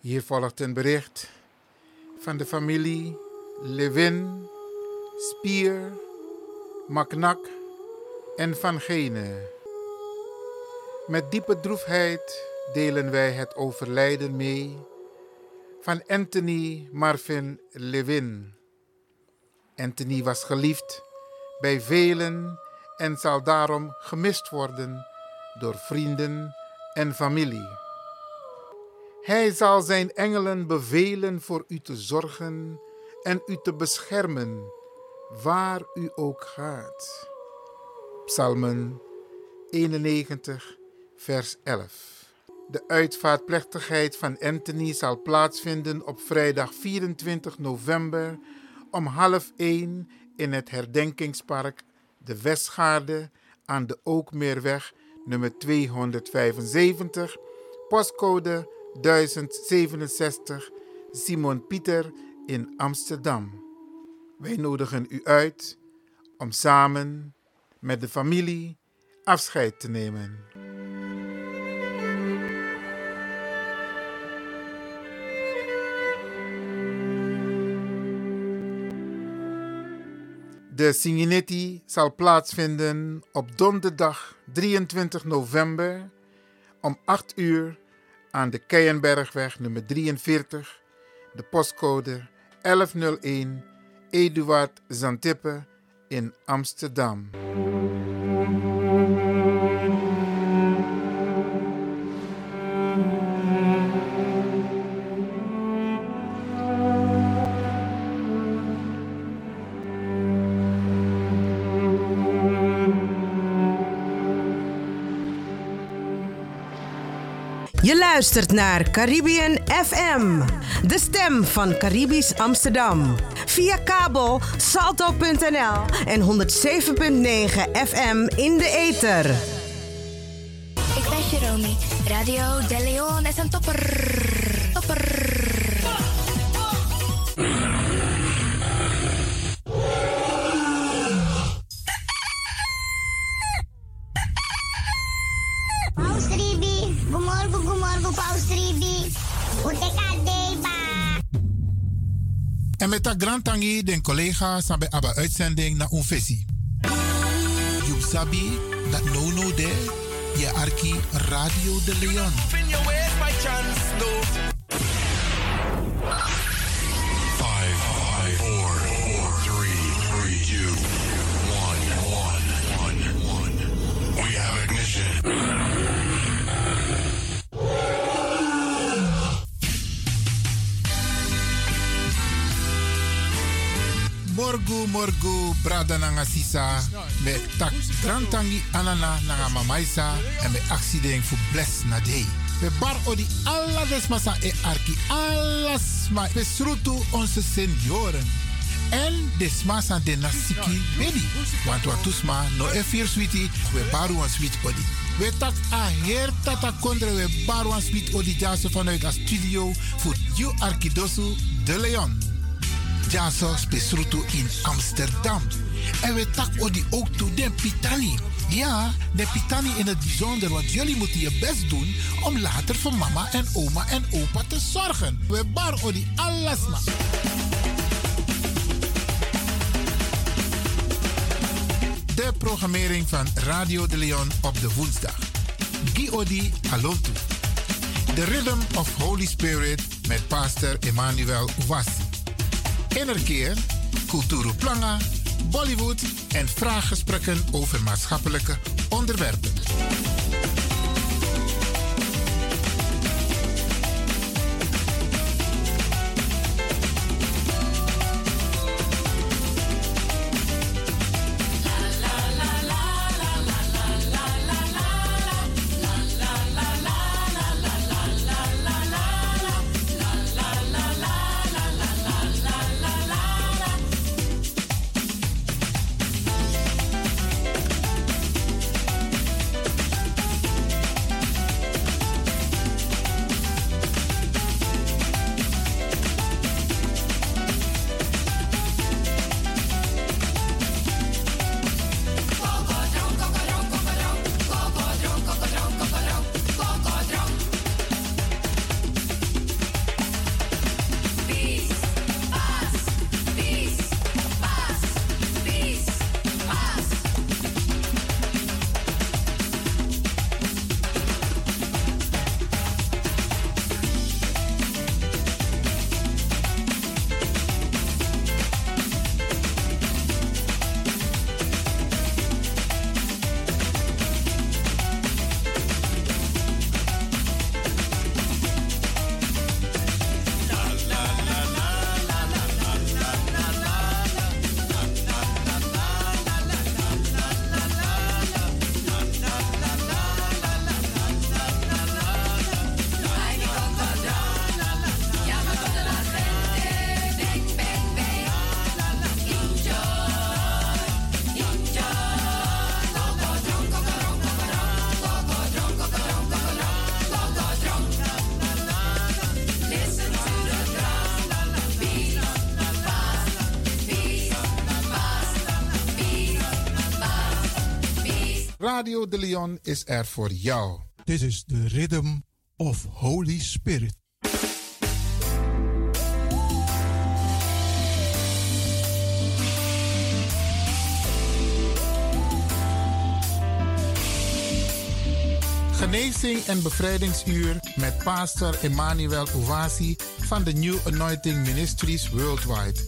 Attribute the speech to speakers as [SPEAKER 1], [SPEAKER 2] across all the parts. [SPEAKER 1] Hier volgt een bericht van de familie Lewin, Spier, Maknak en Van Gene. Met diepe droefheid delen wij het overlijden mee van Anthony Marvin Lewin. Anthony was geliefd bij velen en zal daarom gemist worden door vrienden en familie. Hij zal zijn engelen bevelen voor u te zorgen en u te beschermen, waar u ook gaat. Psalmen 91, vers 11. De uitvaartplechtigheid van Anthony zal plaatsvinden op vrijdag 24 november om half 1 in het herdenkingspark De Westgaarde aan de Ookmeerweg nummer 275, postcode 1067 Simon Pieter in Amsterdam. Wij nodigen u uit om samen met de familie afscheid te nemen. De Signetti zal plaatsvinden op donderdag 23 november om 8 uur aan de Keienbergweg nummer 43, de postcode 1101 Eduard Zantippe in Amsterdam.
[SPEAKER 2] Je luistert naar Caribbean FM, de stem van Caribisch Amsterdam. Via kabel salto.nl en 107.9 FM in de ether.
[SPEAKER 3] Ik ben Jerome. Radio De Leon is een topper. Topper.
[SPEAKER 4] Paus Ribi, gumorgo, gumorgo, Paus Ribi. Utekadei, ba.
[SPEAKER 1] En met dat grand tangi den collega sabe aba uitzending na un visie. You sabi dat no no de je arki Radio de Leon.
[SPEAKER 5] Five, five, four, four, three, three, two, one, one, one, one. We have ignition.
[SPEAKER 1] Morgu morgu brada nanga sisa me tak grand tangi anana nanga mamaisa en E me accident fu bless na day. We bar odi alla desmasa e arki alles ma we srutu onze senioren. En desmasa de nasiki bedi. Want wat tusma no e fear sweetie we baru wan sweet odi. We tak a her tata kondre we baru wan sweet odi jaso vanuit a studio voor you arkidosu de Leon. Jaso Spesruto in Amsterdam. En we tak odi ook toe den Pitani. Ja, de Pitani in het bijzonder, want jullie moeten je best doen om later voor mama en oma en opa te zorgen. We bar odi alles maar. De programmering van Radio de Leon op de woensdag. Guy Odi Alonto. The Rhythm of Holy Spirit met pastor Emmanuel Ouassi. Innerkeer, Kulturu Planga, Bollywood en vraaggesprekken over maatschappelijke onderwerpen. Radio de Leon is er voor jou.
[SPEAKER 6] This is the rhythm of Holy Spirit.
[SPEAKER 1] Genezing en bevrijdingsuur met pastor Emmanuel Owasi van de New Anointing Ministries Worldwide.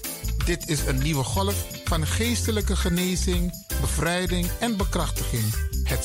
[SPEAKER 1] Dit is een nieuwe golf van geestelijke genezing, bevrijding en bekrachtiging. Het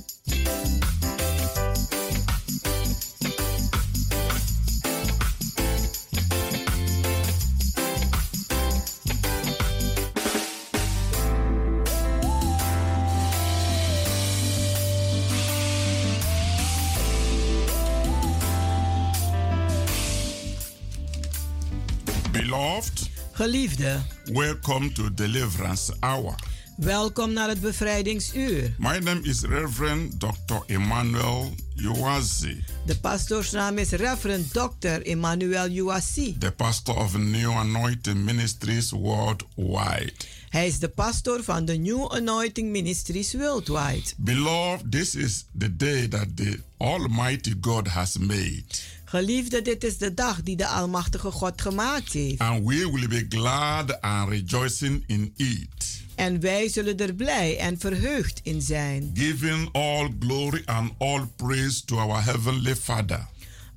[SPEAKER 7] Beloved,
[SPEAKER 8] Geliefde,
[SPEAKER 7] welcome to Deliverance Hour.
[SPEAKER 8] welkom naar het bevrijdingsuur.
[SPEAKER 7] My name is Reverend Dr. Emmanuel Uwazi,
[SPEAKER 8] De pastoorsnaam is Reverend Dr. Emmanuel Uwasi.
[SPEAKER 7] the pastor of New Anointing Ministries worldwide.
[SPEAKER 8] Hij is de pastoor van de New Anointing Ministries Worldwide.
[SPEAKER 7] Beloved, this is the day that the Almighty God has made,
[SPEAKER 8] Geliefde, dit is de dag die de Almachtige God gemaakt heeft.
[SPEAKER 7] and we will be glad and rejoicing in it,
[SPEAKER 8] En wij zullen er blij en verheugd in zijn.
[SPEAKER 7] giving all glory and all praise to our Heavenly Father,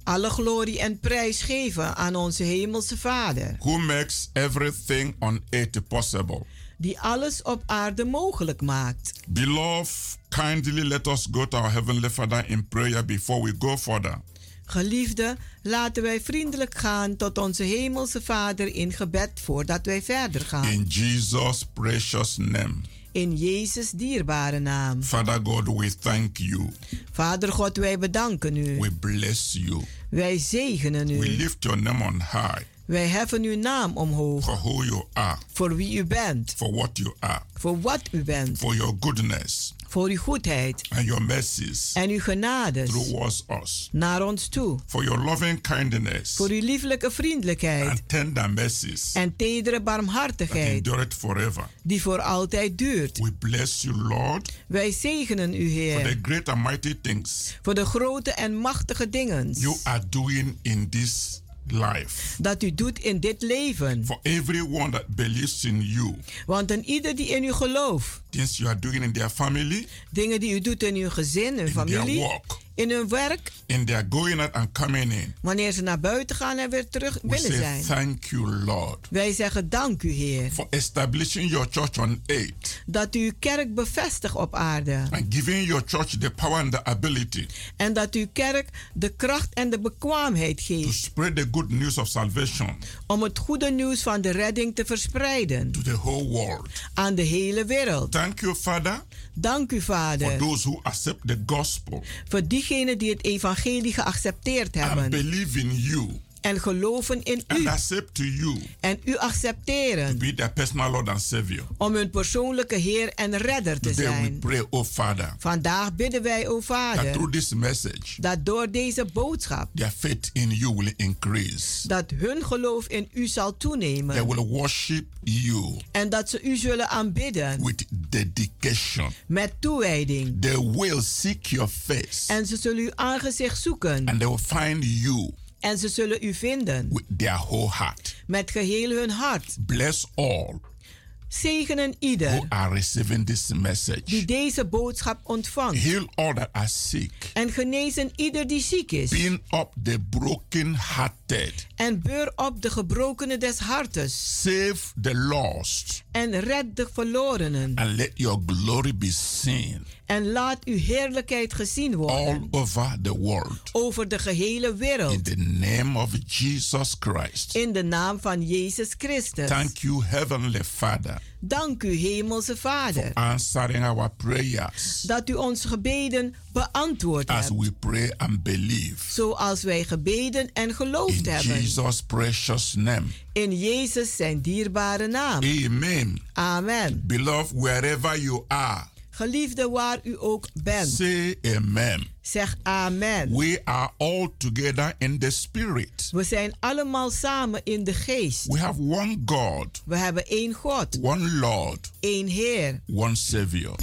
[SPEAKER 8] Alle glorie en prijs geven aan onze Hemelse Vader,
[SPEAKER 7] who makes everything on earth possible.
[SPEAKER 8] die alles op aarde mogelijk maakt.
[SPEAKER 7] Beloved, kindly let us go to our Heavenly Father in prayer before we go further.
[SPEAKER 8] Geliefde, laten wij vriendelijk gaan tot onze Hemelse Vader in gebed voordat wij verder gaan.
[SPEAKER 7] In Jesus' precious name.
[SPEAKER 8] In Jezus' dierbare naam.
[SPEAKER 7] Father God, we thank you.
[SPEAKER 8] Vader God, wij bedanken u.
[SPEAKER 7] We bless you.
[SPEAKER 8] Wij zegenen
[SPEAKER 7] We
[SPEAKER 8] u.
[SPEAKER 7] lift your name on high
[SPEAKER 8] Wij heffen uw naam omhoog.
[SPEAKER 7] for who you are,
[SPEAKER 8] Voor wie u bent.
[SPEAKER 7] for what you are,
[SPEAKER 8] Voor wat u bent.
[SPEAKER 7] for your goodness
[SPEAKER 8] Voor uw goedheid.
[SPEAKER 7] and your mercies
[SPEAKER 8] En uw genades.
[SPEAKER 7] towards us,
[SPEAKER 8] Naar ons toe.
[SPEAKER 7] for your loving kindness
[SPEAKER 8] Voor uw lieflijke vriendelijkheid.
[SPEAKER 7] and tender mercies
[SPEAKER 8] En tedere
[SPEAKER 7] that
[SPEAKER 8] barmhartigheid.
[SPEAKER 7] endure it forever.
[SPEAKER 8] Die voor altijd duurt.
[SPEAKER 7] We bless you, Lord,
[SPEAKER 8] Wij zegenen u,
[SPEAKER 7] for the
[SPEAKER 8] Heer.
[SPEAKER 7] great and mighty things
[SPEAKER 8] Voor de grote en machtige dingen.
[SPEAKER 7] you are doing in this life.
[SPEAKER 8] Dat u doet in dit leven.
[SPEAKER 7] For everyone that believes in you,
[SPEAKER 8] Want een ieder die in u gelooft.
[SPEAKER 7] things you are doing in their family,
[SPEAKER 8] Dingen die u doet in uw gezin, uw
[SPEAKER 7] in their
[SPEAKER 8] familie,
[SPEAKER 7] work,
[SPEAKER 8] in hun werk,
[SPEAKER 7] in their going out and coming in,
[SPEAKER 8] wanneer ze naar buiten gaan en weer terug
[SPEAKER 7] we
[SPEAKER 8] willen
[SPEAKER 7] say
[SPEAKER 8] zijn.
[SPEAKER 7] thank you, Lord,
[SPEAKER 8] Wij zeggen dank u, Heer,
[SPEAKER 7] for establishing your church on earth
[SPEAKER 8] dat u uw kerk bevestigt op aarde.
[SPEAKER 7] and giving your church the power and the ability
[SPEAKER 8] En dat uw kerk de kracht en de bekwaamheid
[SPEAKER 7] to
[SPEAKER 8] geeft
[SPEAKER 7] spread the good news of salvation
[SPEAKER 8] om het goede nieuws van de redding te verspreiden
[SPEAKER 7] to the whole world.
[SPEAKER 8] aan de hele wereld.
[SPEAKER 7] Thank you, Father,
[SPEAKER 8] Dank u,
[SPEAKER 7] for
[SPEAKER 8] Vader,
[SPEAKER 7] those who accept the gospel
[SPEAKER 8] voor diegenen die het evangelie geaccepteerd
[SPEAKER 7] and
[SPEAKER 8] hebben
[SPEAKER 7] believe in you
[SPEAKER 8] en geloven in
[SPEAKER 7] and
[SPEAKER 8] u
[SPEAKER 7] accept to you
[SPEAKER 8] en u
[SPEAKER 7] to
[SPEAKER 8] accepteren
[SPEAKER 7] be their personal Lord and Savior.
[SPEAKER 8] om hun persoonlijke Heer en Redder te
[SPEAKER 7] Today we
[SPEAKER 8] zijn.
[SPEAKER 7] pray, oh Father,
[SPEAKER 8] Vandaag bidden wij, o
[SPEAKER 7] that
[SPEAKER 8] Vader,
[SPEAKER 7] through this message,
[SPEAKER 8] dat door deze boodschap
[SPEAKER 7] their faith in you will increase.
[SPEAKER 8] dat hun geloof in u zal
[SPEAKER 7] They
[SPEAKER 8] toenemen
[SPEAKER 7] will worship you
[SPEAKER 8] en dat ze u zullen aanbidden
[SPEAKER 7] with dedication.
[SPEAKER 8] met toewijding.
[SPEAKER 7] They will seek your face
[SPEAKER 8] En ze zullen uw aangezicht zoeken
[SPEAKER 7] and they will find you
[SPEAKER 8] en ze zullen u vinden
[SPEAKER 7] with their whole heart.
[SPEAKER 8] met geheel hun hart.
[SPEAKER 7] Bless all
[SPEAKER 8] Zegenen
[SPEAKER 7] who
[SPEAKER 8] ieder
[SPEAKER 7] are receiving this
[SPEAKER 8] die
[SPEAKER 7] message.
[SPEAKER 8] deze boodschap ontvangt
[SPEAKER 7] Heal all that are sick.
[SPEAKER 8] en genezen ieder die ziek is
[SPEAKER 7] Pin up the broken-hearted.
[SPEAKER 8] en beur op de gebrokenen des hartes
[SPEAKER 7] Save the lost
[SPEAKER 8] en red de verlorenen
[SPEAKER 7] and let your glory be seen
[SPEAKER 8] en laat uw heerlijkheid gezien
[SPEAKER 7] all
[SPEAKER 8] worden
[SPEAKER 7] over the world.
[SPEAKER 8] over de gehele wereld.
[SPEAKER 7] In the name of Jesus Christ.
[SPEAKER 8] In de naam van Jezus Christus.
[SPEAKER 7] Thank you, Heavenly Father,
[SPEAKER 8] Dank u, Hemelse Vader,
[SPEAKER 7] answering our prayers
[SPEAKER 8] dat u onze gebeden beantwoord
[SPEAKER 7] as
[SPEAKER 8] hebt.
[SPEAKER 7] we pray and believe.
[SPEAKER 8] Zoals wij gebeden en
[SPEAKER 7] In
[SPEAKER 8] geloofd hebben.
[SPEAKER 7] Jesus' precious name.
[SPEAKER 8] In Jezus zijn dierbare naam.
[SPEAKER 7] Amen.
[SPEAKER 8] Amen.
[SPEAKER 7] Beloved, wherever you are,
[SPEAKER 8] Geliefde waar u ook bent,
[SPEAKER 7] Say amen.
[SPEAKER 8] zeg amen.
[SPEAKER 7] We are all together in the spirit.
[SPEAKER 8] We zijn allemaal samen in de geest.
[SPEAKER 7] We have one God,
[SPEAKER 8] We hebben één God,
[SPEAKER 7] one Lord,
[SPEAKER 8] één Heer.
[SPEAKER 7] one Savior.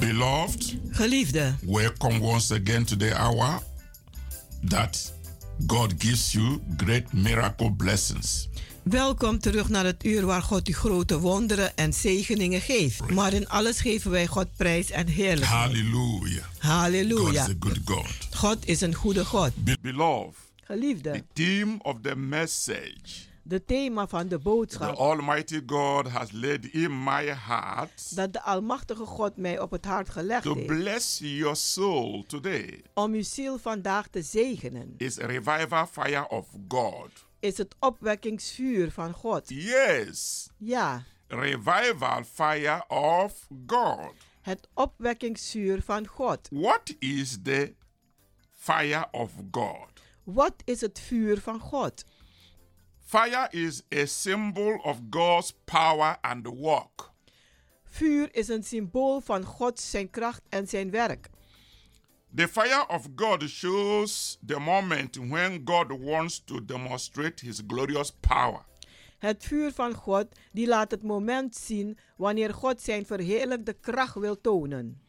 [SPEAKER 7] Beloved,
[SPEAKER 8] Geliefde,
[SPEAKER 7] welcome once again to the hour that God gives you great miracle blessings.
[SPEAKER 8] welkom terug naar het uur waar God u grote wonderen en zegeningen geeft. Maar in alles geven wij God prijs en heerlijk.
[SPEAKER 7] Hallelujah. God
[SPEAKER 8] Halleluja.
[SPEAKER 7] is a good God.
[SPEAKER 8] God is een goede God.
[SPEAKER 7] Be- beloved, the
[SPEAKER 8] Geliefde,
[SPEAKER 7] theme of the message
[SPEAKER 8] de thema van de
[SPEAKER 7] the
[SPEAKER 8] boodschap
[SPEAKER 7] Almighty God has laid in my heart
[SPEAKER 8] dat de Almachtige God mij op het hart gelegd
[SPEAKER 7] to
[SPEAKER 8] heeft
[SPEAKER 7] bless your soul today
[SPEAKER 8] om uw ziel vandaag te zegenen,
[SPEAKER 7] is a revival fire of God.
[SPEAKER 8] is het opwekkingsvuur van God.
[SPEAKER 7] Yes,
[SPEAKER 8] Ja,
[SPEAKER 7] revival fire of God.
[SPEAKER 8] het opwekkingsvuur van God.
[SPEAKER 7] What is the fire of God?
[SPEAKER 8] Wat is het vuur van God?
[SPEAKER 7] Fire is a symbol of God's power and work.
[SPEAKER 8] Vuur is een symbool van God, zijn kracht en zijn werk.
[SPEAKER 7] The fire of God shows the moment when God wants to demonstrate his glorious power.
[SPEAKER 8] Het vuur van God die laat het moment zien wanneer God zijn verheerlijkte kracht wil tonen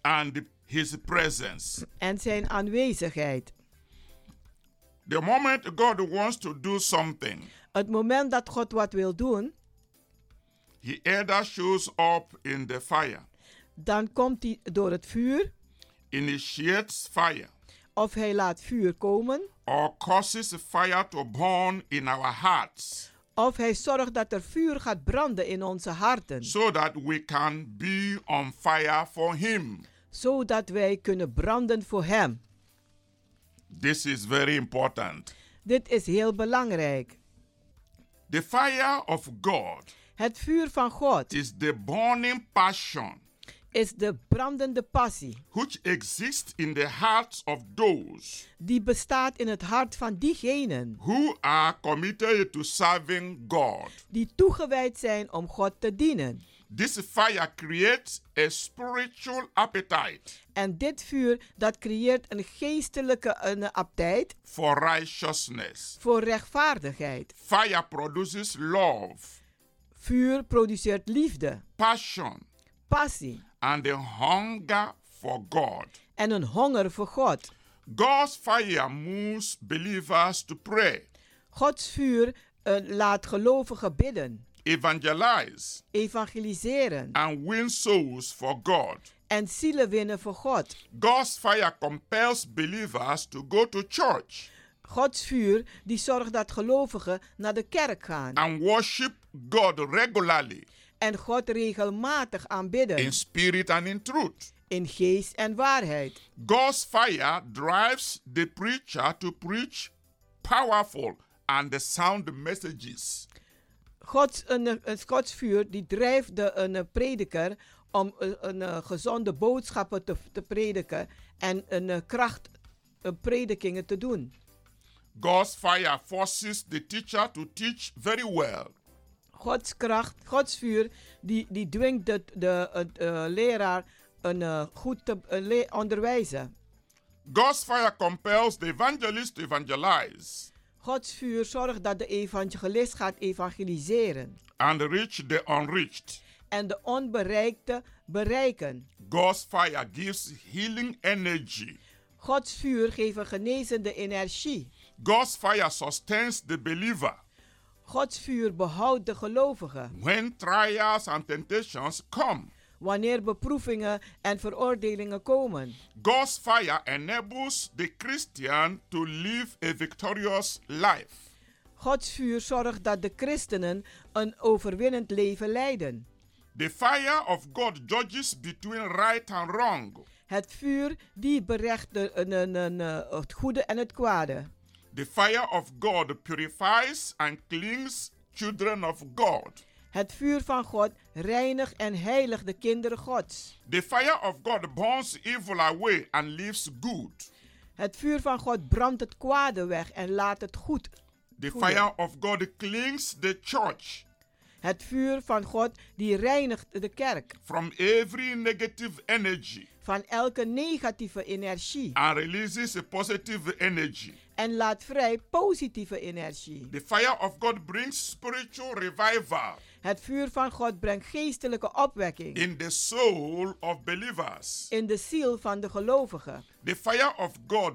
[SPEAKER 7] and his presence.
[SPEAKER 8] en zijn aanwezigheid.
[SPEAKER 7] The moment God wants to do something,
[SPEAKER 8] Het moment dat God wat wil doen,
[SPEAKER 7] he either shows up in the fire,
[SPEAKER 8] dan komt hij door het vuur
[SPEAKER 7] initiates fire,
[SPEAKER 8] of hij laat vuur komen
[SPEAKER 7] or causes fire to burn in our hearts
[SPEAKER 8] of hij zorgt dat er vuur gaat branden in onze harten,
[SPEAKER 7] so that we can be on fire for him.
[SPEAKER 8] zodat wij kunnen branden voor hem.
[SPEAKER 7] This is very important.
[SPEAKER 8] Dit is heel belangrijk.
[SPEAKER 7] The fire of God
[SPEAKER 8] Het vuur van God
[SPEAKER 7] is the burning passion
[SPEAKER 8] is de brandende passie
[SPEAKER 7] which exists in the hearts of those
[SPEAKER 8] die bestaat in het hart van diegenen
[SPEAKER 7] who are committed to serving God.
[SPEAKER 8] die toegewijd zijn om God te dienen.
[SPEAKER 7] This fire creates a spiritual appetite
[SPEAKER 8] En dit vuur dat creëert een geestelijke een appetijt
[SPEAKER 7] for righteousness.
[SPEAKER 8] voor rechtvaardigheid.
[SPEAKER 7] Fire produces love,
[SPEAKER 8] Vuur produceert liefde,
[SPEAKER 7] passion,
[SPEAKER 8] passie
[SPEAKER 7] and a hunger for God.
[SPEAKER 8] en een honger voor God.
[SPEAKER 7] God's fire moves believers to pray,
[SPEAKER 8] Gods vuur eh, laat gelovigen bidden,
[SPEAKER 7] evangelize,
[SPEAKER 8] evangeliseren
[SPEAKER 7] and win souls for God.
[SPEAKER 8] en zielen winnen voor God.
[SPEAKER 7] God's fire compels believers to go to church
[SPEAKER 8] Gods vuur die zorgt dat gelovigen naar de kerk gaan
[SPEAKER 7] and worship God regularly
[SPEAKER 8] en God regelmatig aanbidden
[SPEAKER 7] in spirit and in truth.
[SPEAKER 8] in geest en waarheid.
[SPEAKER 7] God's fire drives the preacher to preach powerful and sound messages.
[SPEAKER 8] Gods, een, eh, het Gods vuur die drijft de een eh, prediker om eh, een, eh, gezonde boodschappen te, te prediken en een eh, kracht eh, predikingen te doen.
[SPEAKER 7] God's fire forces the teacher to teach very well.
[SPEAKER 8] Gods kracht, Gods vuur, die, die dwingt de, de, eh, eh, leraar een eh, goed te een le- onderwijzen.
[SPEAKER 7] God's fire compels the evangelist to evangelize
[SPEAKER 8] Gods vuur zorgt dat de evangelist gaat evangeliseren
[SPEAKER 7] and reach the unreached.
[SPEAKER 8] en de onbereikte bereiken.
[SPEAKER 7] God's fire gives healing energy.
[SPEAKER 8] Gods vuur geeft een genezende energie.
[SPEAKER 7] God's fire sustains the believer
[SPEAKER 8] Gods vuur behoudt de gelovigen
[SPEAKER 7] when trials and temptations come.
[SPEAKER 8] wanneer beproevingen en veroordelingen komen.
[SPEAKER 7] God's fire enables the Christian to live a victorious life.
[SPEAKER 8] Gods vuur zorgt dat de christenen een overwinnend leven leiden.
[SPEAKER 7] The fire of God judges between right and wrong.
[SPEAKER 8] Het vuur die berecht de, een- een- een, eh, het goede en het kwade.
[SPEAKER 7] The fire of God purifies and cleans children of God.
[SPEAKER 8] Het vuur van God reinigt en heiligt de kinderen Gods.
[SPEAKER 7] The fire of God burns evil away and leaves good.
[SPEAKER 8] Het vuur van God brandt het kwade weg en laat het goed.
[SPEAKER 7] The
[SPEAKER 8] Goeie.
[SPEAKER 7] fire of God cleans the church
[SPEAKER 8] Het vuur van God die reinigt de kerk
[SPEAKER 7] from every negative energy
[SPEAKER 8] van elke negatieve energie
[SPEAKER 7] and releases a positive energy.
[SPEAKER 8] en laat vrij positieve energie.
[SPEAKER 7] The fire of God brings spiritual revival
[SPEAKER 8] Het vuur van God brengt geestelijke opwekking
[SPEAKER 7] in the soul of believers.
[SPEAKER 8] in de ziel van de gelovigen.
[SPEAKER 7] The fire of God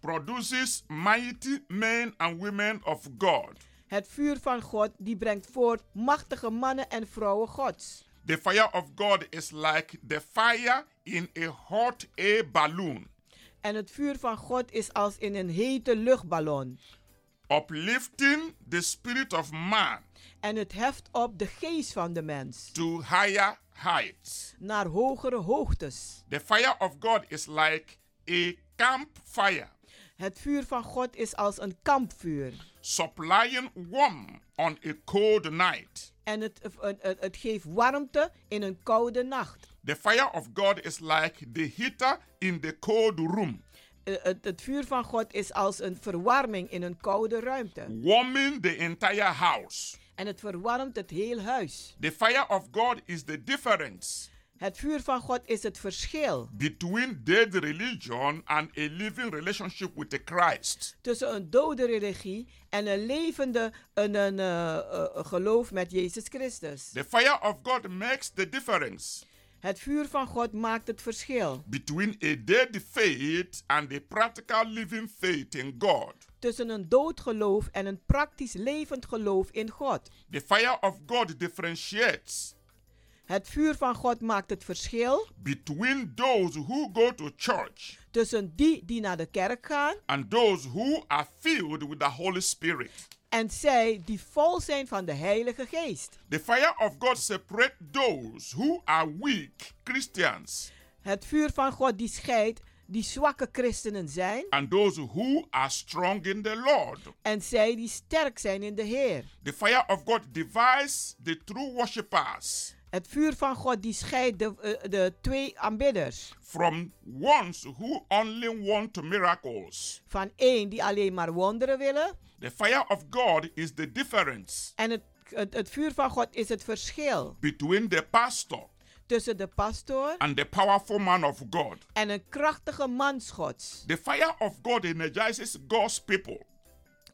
[SPEAKER 7] produces mighty men and women of God.
[SPEAKER 8] Het vuur van God die brengt voort machtige mannen en vrouwen Gods.
[SPEAKER 7] The fire of God is like the fire in a hot air balloon,
[SPEAKER 8] En het vuur van God is als in een hete luchtballon.
[SPEAKER 7] uplifting the spirit of man
[SPEAKER 8] En het heft op de geest van de mens
[SPEAKER 7] to higher heights.
[SPEAKER 8] naar hogere hoogtes.
[SPEAKER 7] The fire of God is like a campfire,
[SPEAKER 8] Het vuur van God is als een kampvuur.
[SPEAKER 7] supplying warmth on a cold night.
[SPEAKER 8] En het, het, het- het geeft warmte in een koude nacht.
[SPEAKER 7] The fire of God is like the heater in the cold room,
[SPEAKER 8] Eh, Het, het vuur van God is als een verwarming in een koude ruimte.
[SPEAKER 7] warming the entire house.
[SPEAKER 8] En het verwarmt het heel huis.
[SPEAKER 7] The fire of God is the difference
[SPEAKER 8] Het vuur van God is het verschil
[SPEAKER 7] between dead religion and a living relationship with the Christ.
[SPEAKER 8] tussen een dode religie en een levende een, een, eh, eh, geloof met Jezus Christus.
[SPEAKER 7] The fire of God makes the difference
[SPEAKER 8] Het vuur van God maakt het verschil
[SPEAKER 7] between a dead faith and a practical living faith in God.
[SPEAKER 8] tussen een dood geloof en een praktisch levend geloof in God.
[SPEAKER 7] The fire of God differentiates
[SPEAKER 8] Het vuur van God maakt het verschil
[SPEAKER 7] between those who go to church
[SPEAKER 8] tussen die die naar de kerk gaan
[SPEAKER 7] and those who are filled with the Holy Spirit.
[SPEAKER 8] en zij die vol zijn van de Heilige Geest.
[SPEAKER 7] The fire of God separates those who are weak Christians
[SPEAKER 8] Het vuur van God die scheidt die zwakke christenen zijn
[SPEAKER 7] and those who are strong in the Lord.
[SPEAKER 8] en zij die sterk zijn in de Heer.
[SPEAKER 7] The fire of God divides the true worshippers
[SPEAKER 8] Het vuur van God die scheidt de, eh, de twee aanbidders.
[SPEAKER 7] from ones who only want miracles.
[SPEAKER 8] Van één die alleen maar wonderen willen.
[SPEAKER 7] The fire of God is the difference
[SPEAKER 8] En het, het, het vuur van God is het verschil
[SPEAKER 7] between the pastor
[SPEAKER 8] tussen de pastoor
[SPEAKER 7] and the powerful man of God.
[SPEAKER 8] en een krachtige mansgods.
[SPEAKER 7] The fire of God energizes God's people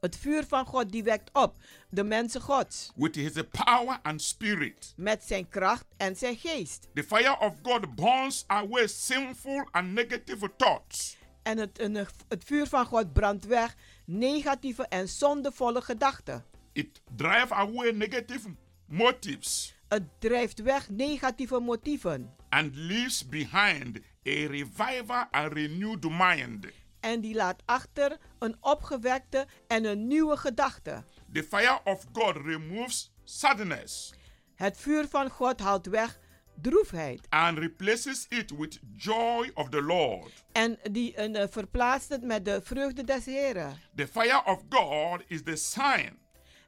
[SPEAKER 8] Het vuur van God die wekt op de mensen gods.
[SPEAKER 7] with his power and spirit.
[SPEAKER 8] Met zijn kracht en zijn geest.
[SPEAKER 7] The fire of God burns away sinful and negative thoughts.
[SPEAKER 8] En het, en het vuur van God brandt weg negatieve en zondevolle gedachten.
[SPEAKER 7] It drives away negative motives
[SPEAKER 8] Het drijft weg negatieve motieven.
[SPEAKER 7] and leaves behind a revival and renewed mind.
[SPEAKER 8] En die laat achter een opgewekte en een nieuwe gedachte.
[SPEAKER 7] The fire of God removes sadness
[SPEAKER 8] Het vuur van God haalt weg droefheid.
[SPEAKER 7] and replaces it with joy of the Lord.
[SPEAKER 8] En die en, eh, verplaatst het met de vreugde des Heren.
[SPEAKER 7] The fire of God is the sign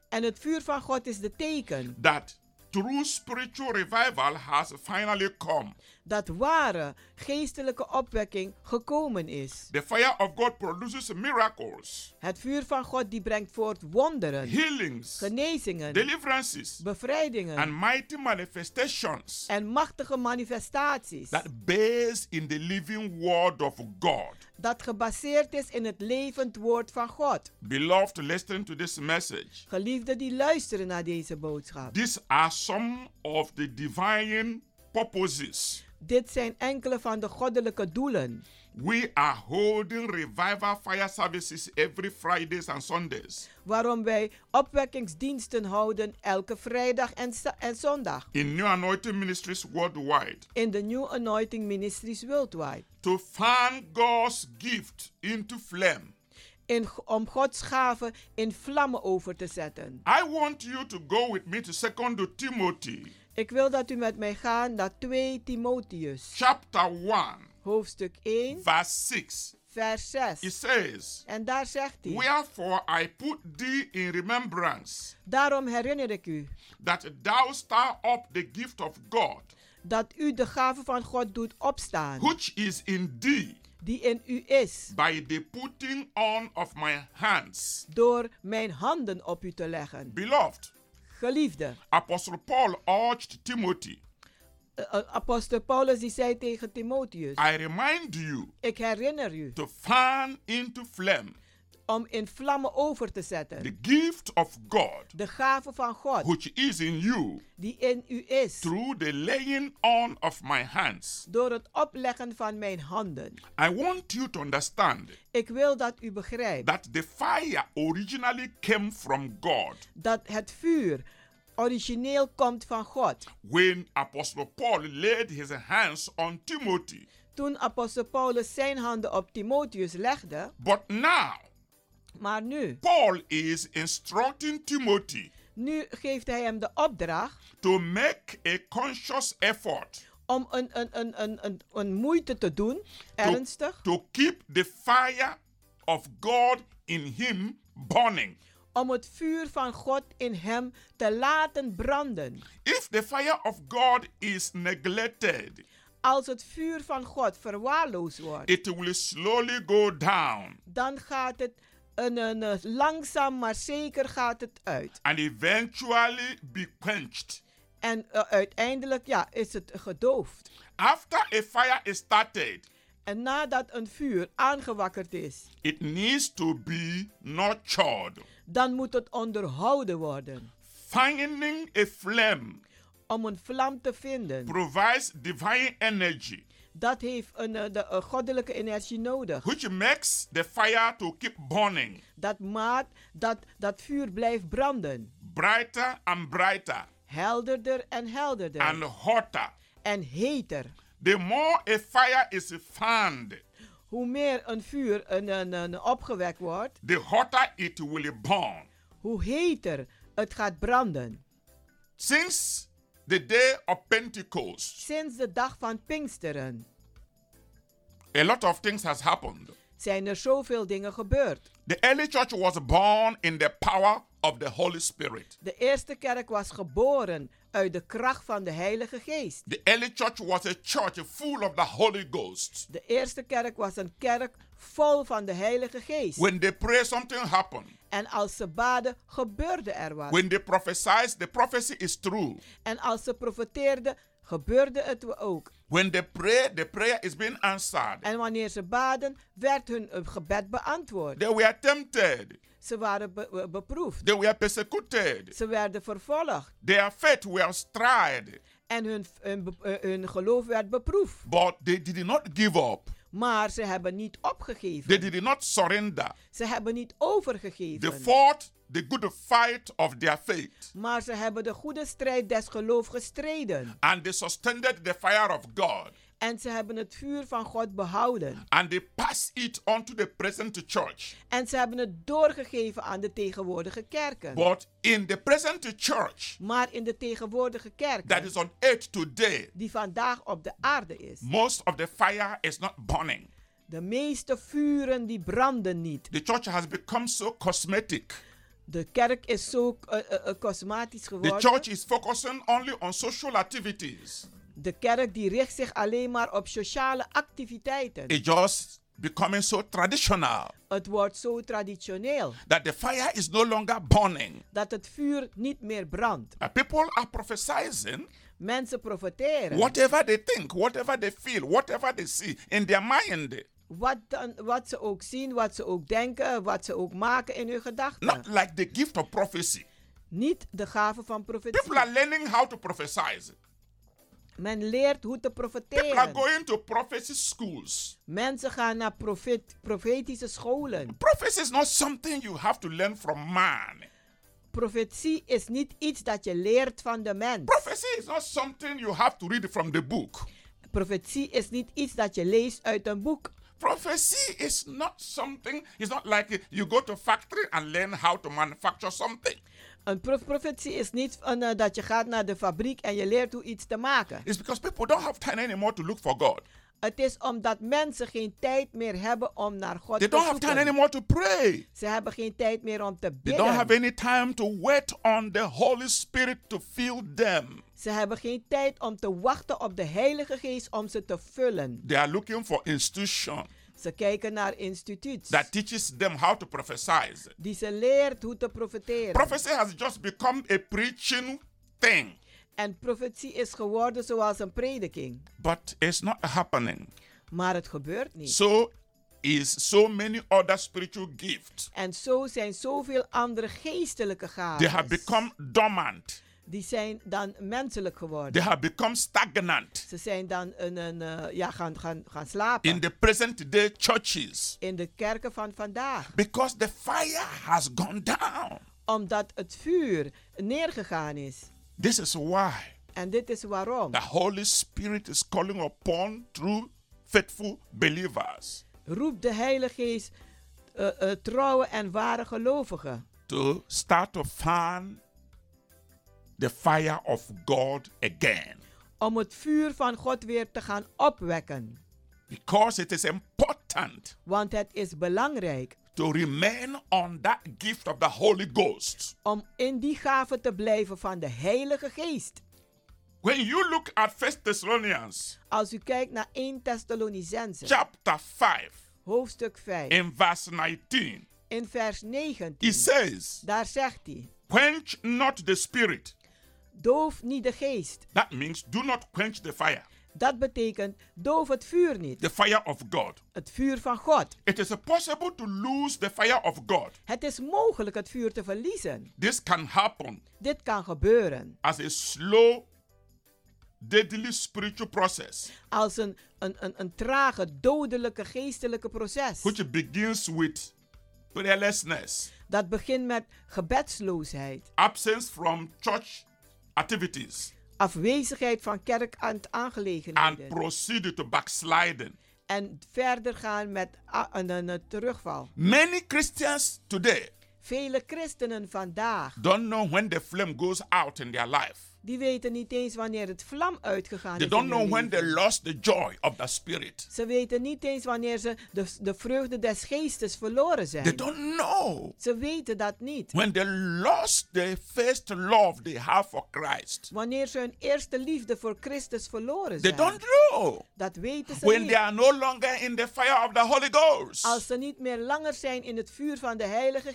[SPEAKER 8] En het vuur van God is de teken
[SPEAKER 7] that true spiritual revival has finally come.
[SPEAKER 8] dat ware geestelijke opwekking gekomen is.
[SPEAKER 7] The fire of God produces miracles,
[SPEAKER 8] Het vuur van God die brengt voort wonderen,
[SPEAKER 7] healings,
[SPEAKER 8] genezingen,
[SPEAKER 7] deliverances, and
[SPEAKER 8] bevrijdingen
[SPEAKER 7] mighty manifestations
[SPEAKER 8] en machtige manifestaties.
[SPEAKER 7] that base in the living word of God.
[SPEAKER 8] Dat gebaseerd is in het levend woord van God.
[SPEAKER 7] Beloved, listen to this message.
[SPEAKER 8] Geliefden die luisteren naar deze boodschap.
[SPEAKER 7] These are some of the divine purposes
[SPEAKER 8] Dit zijn enkele van de goddelijke doelen.
[SPEAKER 7] We are holding revival fire services every Fridays and Sundays
[SPEAKER 8] waarom wij opwekkingsdiensten houden elke vrijdag en, za- en zondag
[SPEAKER 7] in New Anointing Ministries worldwide
[SPEAKER 8] in de New Anointing Ministries Worldwide.
[SPEAKER 7] to fan God's gift into flame
[SPEAKER 8] in, om Gods gaven in vlammen over te zetten.
[SPEAKER 7] I want you to go with me to 2 Timothy
[SPEAKER 8] Ik wil dat u met mij gaat naar 2 Timotheus,
[SPEAKER 7] chapter 1,
[SPEAKER 8] hoofdstuk 1,
[SPEAKER 7] verse 6.
[SPEAKER 8] vers
[SPEAKER 7] It
[SPEAKER 8] 6.
[SPEAKER 7] says,
[SPEAKER 8] En daar zegt hij,
[SPEAKER 7] Wherefore I put thee in remembrance
[SPEAKER 8] daarom herinner ik u
[SPEAKER 7] that thou stir up the gift of God,
[SPEAKER 8] dat u de gave van God doet opstaan,
[SPEAKER 7] which is in thee
[SPEAKER 8] die in u is,
[SPEAKER 7] by the putting on of my hands.
[SPEAKER 8] door mijn handen op u te leggen.
[SPEAKER 7] Beloved,
[SPEAKER 8] Geliefde,
[SPEAKER 7] Apostle Paul urged Timothy,
[SPEAKER 8] eh, eh, apostel Paulus die zei tegen Timotheus,
[SPEAKER 7] I remind you
[SPEAKER 8] ik herinner u
[SPEAKER 7] to fan into flame
[SPEAKER 8] om in vlammen over te
[SPEAKER 7] the
[SPEAKER 8] zetten
[SPEAKER 7] gift of God
[SPEAKER 8] de gave van God
[SPEAKER 7] which is in you
[SPEAKER 8] die in u is,
[SPEAKER 7] through the laying on of my hands.
[SPEAKER 8] door het opleggen van mijn handen.
[SPEAKER 7] I want you to understand
[SPEAKER 8] Ik wil dat u begrijpt
[SPEAKER 7] that the fire originally came from God.
[SPEAKER 8] dat het vuur origineel komt van God.
[SPEAKER 7] When Apostle Paul laid his hands on Timothy,
[SPEAKER 8] Toen apostel Paulus zijn handen op Timotheus legde,
[SPEAKER 7] but now
[SPEAKER 8] maar nu,
[SPEAKER 7] Paul is instructing Timothy
[SPEAKER 8] nu geeft hij hem de opdracht
[SPEAKER 7] to make a conscious effort
[SPEAKER 8] om een, een, een, een, een, een moeite te doen,
[SPEAKER 7] to,
[SPEAKER 8] ernstig,
[SPEAKER 7] to keep the fire of God in him burning.
[SPEAKER 8] om het vuur van God in hem te laten branden.
[SPEAKER 7] If the fire of God is neglected,
[SPEAKER 8] Als het vuur van God verwaarloosd wordt,
[SPEAKER 7] it will slowly go down
[SPEAKER 8] dan gaat het een, een, een- langzaam maar zeker gaat het uit.
[SPEAKER 7] and eventually be quenched.
[SPEAKER 8] En eh, uiteindelijk ja, is het gedoofd.
[SPEAKER 7] After a fire is started,
[SPEAKER 8] En nadat een vuur aangewakkerd is,
[SPEAKER 7] it needs to be nurtured.
[SPEAKER 8] dan moet het onderhouden worden.
[SPEAKER 7] Finding a flame
[SPEAKER 8] Om een vlam te vinden,
[SPEAKER 7] provides divine energy,
[SPEAKER 8] dat heeft een, eh, de, eh, goddelijke energie nodig.
[SPEAKER 7] which makes the fire to keep burning
[SPEAKER 8] Dat maakt dat dat vuur blijft branden.
[SPEAKER 7] brighter and brighter
[SPEAKER 8] Helderder en helderder.
[SPEAKER 7] and hotter.
[SPEAKER 8] en heter.
[SPEAKER 7] The more a fire is fanned,
[SPEAKER 8] Hoe meer een vuur een, een, een opgewekt wordt,
[SPEAKER 7] the hotter it will burn.
[SPEAKER 8] hoe heter het gaat branden.
[SPEAKER 7] Since the day of Pentecost,
[SPEAKER 8] Sinds de dag van Pinksteren
[SPEAKER 7] a lot of things has happened.
[SPEAKER 8] zijn er zoveel dingen gebeurd.
[SPEAKER 7] The early church was born in the power of the Holy Spirit.
[SPEAKER 8] De eerste kerk was geboren uit de kracht van de Heilige Geest.
[SPEAKER 7] The early church was a church full of the Holy Ghost.
[SPEAKER 8] De eerste kerk was een kerk vol van de Heilige Geest.
[SPEAKER 7] When they pray, something happened.
[SPEAKER 8] en als ze baden, gebeurde er wat.
[SPEAKER 7] When they prophesy, the prophecy is true.
[SPEAKER 8] en als ze profeteerden, gebeurde het ook.
[SPEAKER 7] When they pray, the prayer is being answered.
[SPEAKER 8] En wanneer ze baden, werd hun eh, gebed beantwoord.
[SPEAKER 7] They were tempted.
[SPEAKER 8] Ze waren be- eh, beproefd.
[SPEAKER 7] They were persecuted.
[SPEAKER 8] Ze werden vervolgd.
[SPEAKER 7] Their faith was tried.
[SPEAKER 8] En hun, hun, be- eh, hun geloof werd beproefd.
[SPEAKER 7] But they did not give up.
[SPEAKER 8] Maar ze hebben niet
[SPEAKER 7] They
[SPEAKER 8] opgegeven.
[SPEAKER 7] did not surrender.
[SPEAKER 8] Ze hebben niet
[SPEAKER 7] They
[SPEAKER 8] overgegeven.
[SPEAKER 7] fought the good fight of their faith.
[SPEAKER 8] Maar ze hebben de goede strijd des geloof gestreden.
[SPEAKER 7] And they sustained the fire of God.
[SPEAKER 8] En ze hebben het vuur van God behouden.
[SPEAKER 7] And they passed it on to the present church.
[SPEAKER 8] En ze hebben het doorgegeven aan de tegenwoordige kerken.
[SPEAKER 7] But in the present church
[SPEAKER 8] Maar in de tegenwoordige
[SPEAKER 7] that
[SPEAKER 8] kerken,
[SPEAKER 7] is on earth today,
[SPEAKER 8] die vandaag op de aarde is,
[SPEAKER 7] most of the fire is not burning.
[SPEAKER 8] de meeste vuren die branden niet.
[SPEAKER 7] The church has become so cosmetic.
[SPEAKER 8] De kerk is zo eh, eh, eh, cosmatisch
[SPEAKER 7] The
[SPEAKER 8] geworden.
[SPEAKER 7] church is focusing only on social activities.
[SPEAKER 8] De kerk die richt zich alleen maar op sociale activiteiten.
[SPEAKER 7] It's just becoming so traditional
[SPEAKER 8] Het wordt zo traditioneel
[SPEAKER 7] that the fire is no longer burning.
[SPEAKER 8] dat het vuur niet meer brandt.
[SPEAKER 7] Uh, People are prophesying
[SPEAKER 8] Mensen profiteren.
[SPEAKER 7] whatever they think, whatever they feel, whatever they see in their mind.
[SPEAKER 8] Wat, dan, wat ze ook zien, wat ze ook denken, wat ze ook maken in hun gedachten.
[SPEAKER 7] Not like the gift of prophecy.
[SPEAKER 8] Niet de gave van
[SPEAKER 7] People are
[SPEAKER 8] profetie.
[SPEAKER 7] learning how to prophesy.
[SPEAKER 8] Men leert hoe te
[SPEAKER 7] People are
[SPEAKER 8] profiteren.
[SPEAKER 7] going to prophecy schools.
[SPEAKER 8] Mensen gaan naar profet, profetische scholen.
[SPEAKER 7] Prophecy is not something you have to learn from man.
[SPEAKER 8] Profetie is niet iets dat je leert van de mens.
[SPEAKER 7] Prophecy is not something you have to read from the book.
[SPEAKER 8] Profetie is niet iets dat je leest uit een boek.
[SPEAKER 7] Prophecy is not something, it's not like you go to factory and learn how to manufacture something.
[SPEAKER 8] Een prof- profetie is niet van, eh, dat je gaat naar de fabriek en je leert hoe iets te maken.
[SPEAKER 7] It's because people don't have time anymore to look for God.
[SPEAKER 8] Het is omdat mensen geen tijd meer hebben om naar God
[SPEAKER 7] They
[SPEAKER 8] te
[SPEAKER 7] don't have time
[SPEAKER 8] zoeken.
[SPEAKER 7] anymore to pray.
[SPEAKER 8] Ze hebben geen tijd meer om te
[SPEAKER 7] They don't have
[SPEAKER 8] bidden.
[SPEAKER 7] any time to wait on the Holy Spirit to fill them.
[SPEAKER 8] Ze hebben geen tijd om te wachten op de Heilige Geest om ze te vullen.
[SPEAKER 7] They are looking for institution
[SPEAKER 8] Ze kijken naar instituuts
[SPEAKER 7] that teaches them how to prophesy.
[SPEAKER 8] die ze leert hoe te profeteren.
[SPEAKER 7] Prophecy has just become a preaching thing,
[SPEAKER 8] en profetie is geworden zoals een prediking.
[SPEAKER 7] but it's not happening.
[SPEAKER 8] Maar het gebeurt niet.
[SPEAKER 7] So is so many other spiritual gifts.
[SPEAKER 8] en zo zijn zoveel andere geestelijke
[SPEAKER 7] They have
[SPEAKER 8] gaven.
[SPEAKER 7] become dormant.
[SPEAKER 8] Die zijn dan menselijk geworden.
[SPEAKER 7] They have become stagnant
[SPEAKER 8] Ze zijn dan een, een, eh, ja, gaan, gaan, gaan slapen.
[SPEAKER 7] in the present day churches
[SPEAKER 8] in de kerken van vandaag.
[SPEAKER 7] because the fire has gone down.
[SPEAKER 8] Omdat het vuur neergegaan is.
[SPEAKER 7] This is why
[SPEAKER 8] En dit is waarom.
[SPEAKER 7] the Holy Spirit is calling upon true faithful believers
[SPEAKER 8] Roep de Heilige Geest eh, eh, trouwe en ware gelovigen.
[SPEAKER 7] to start to fan the fire of God again
[SPEAKER 8] Om het vuur van God weer te gaan opwekken.
[SPEAKER 7] because it is important
[SPEAKER 8] Want het is belangrijk
[SPEAKER 7] to remain on that gift of the Holy Ghost.
[SPEAKER 8] om in die gave te blijven van de Heilige Geest.
[SPEAKER 7] When you look at First Thessalonians
[SPEAKER 8] Als u kijkt naar 1 Thessalonicense,
[SPEAKER 7] chapter 5
[SPEAKER 8] hoofdstuk 5,
[SPEAKER 7] in verse 19,
[SPEAKER 8] in vers 19.
[SPEAKER 7] it says,
[SPEAKER 8] Daar zegt hij,
[SPEAKER 7] Quench not the spirit.
[SPEAKER 8] doof niet de geest.
[SPEAKER 7] That means do not quench the fire,
[SPEAKER 8] Dat betekent, doof het vuur niet,
[SPEAKER 7] the fire of God.
[SPEAKER 8] het vuur van God.
[SPEAKER 7] It is possible to lose the fire of God.
[SPEAKER 8] Het is mogelijk het vuur te verliezen.
[SPEAKER 7] This can happen
[SPEAKER 8] Dit kan gebeuren
[SPEAKER 7] as a slow, deadly spiritual process,
[SPEAKER 8] als een, een, een, een trage, dodelijke geestelijke proces.
[SPEAKER 7] which begins with prayerlessness,
[SPEAKER 8] Dat begint met gebedsloosheid,
[SPEAKER 7] absence from church activities,
[SPEAKER 8] afwezigheid van kerk aan
[SPEAKER 7] and
[SPEAKER 8] aangelegenheden.
[SPEAKER 7] proceed to backsliding.
[SPEAKER 8] En verder gaan met a- een, een, een terugval.
[SPEAKER 7] Many Christians today
[SPEAKER 8] Vele christenen vandaag,
[SPEAKER 7] don't know when the flame goes out in their life.
[SPEAKER 8] die weten niet eens wanneer het vlam uitgegaan
[SPEAKER 7] They
[SPEAKER 8] is. in
[SPEAKER 7] don't
[SPEAKER 8] hun
[SPEAKER 7] know when they
[SPEAKER 8] leven.
[SPEAKER 7] lost the joy of the spirit.
[SPEAKER 8] Ze weten niet eens wanneer ze de, de vreugde des geestes verloren
[SPEAKER 7] They
[SPEAKER 8] zijn.
[SPEAKER 7] don't know
[SPEAKER 8] Ze weten dat niet.
[SPEAKER 7] when they lost the first love they have for Christ.
[SPEAKER 8] Wanneer ze hun eerste liefde voor Christus verloren
[SPEAKER 7] They
[SPEAKER 8] zijn.
[SPEAKER 7] don't know
[SPEAKER 8] Dat weten ze
[SPEAKER 7] when
[SPEAKER 8] niet.
[SPEAKER 7] they are no longer in the fire of the Holy Ghost.
[SPEAKER 8] Als ze niet meer langer zijn in het vuur van de Heilige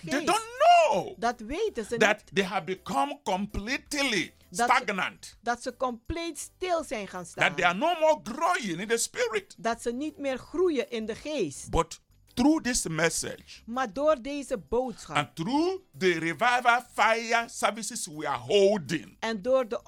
[SPEAKER 7] They
[SPEAKER 8] Geest.
[SPEAKER 7] don't know
[SPEAKER 8] Dat weten ze
[SPEAKER 7] that
[SPEAKER 8] niet.
[SPEAKER 7] they have become completely
[SPEAKER 8] Dat ze-
[SPEAKER 7] stagnant,
[SPEAKER 8] Dat ze compleet stil zijn gaan staan.
[SPEAKER 7] that they are no more growing in the spirit.
[SPEAKER 8] Dat ze niet meer groeien in de geest.
[SPEAKER 7] But through this message,
[SPEAKER 8] Maar door deze boodschap.
[SPEAKER 7] And through the revival fire services we are holding,
[SPEAKER 8] En door de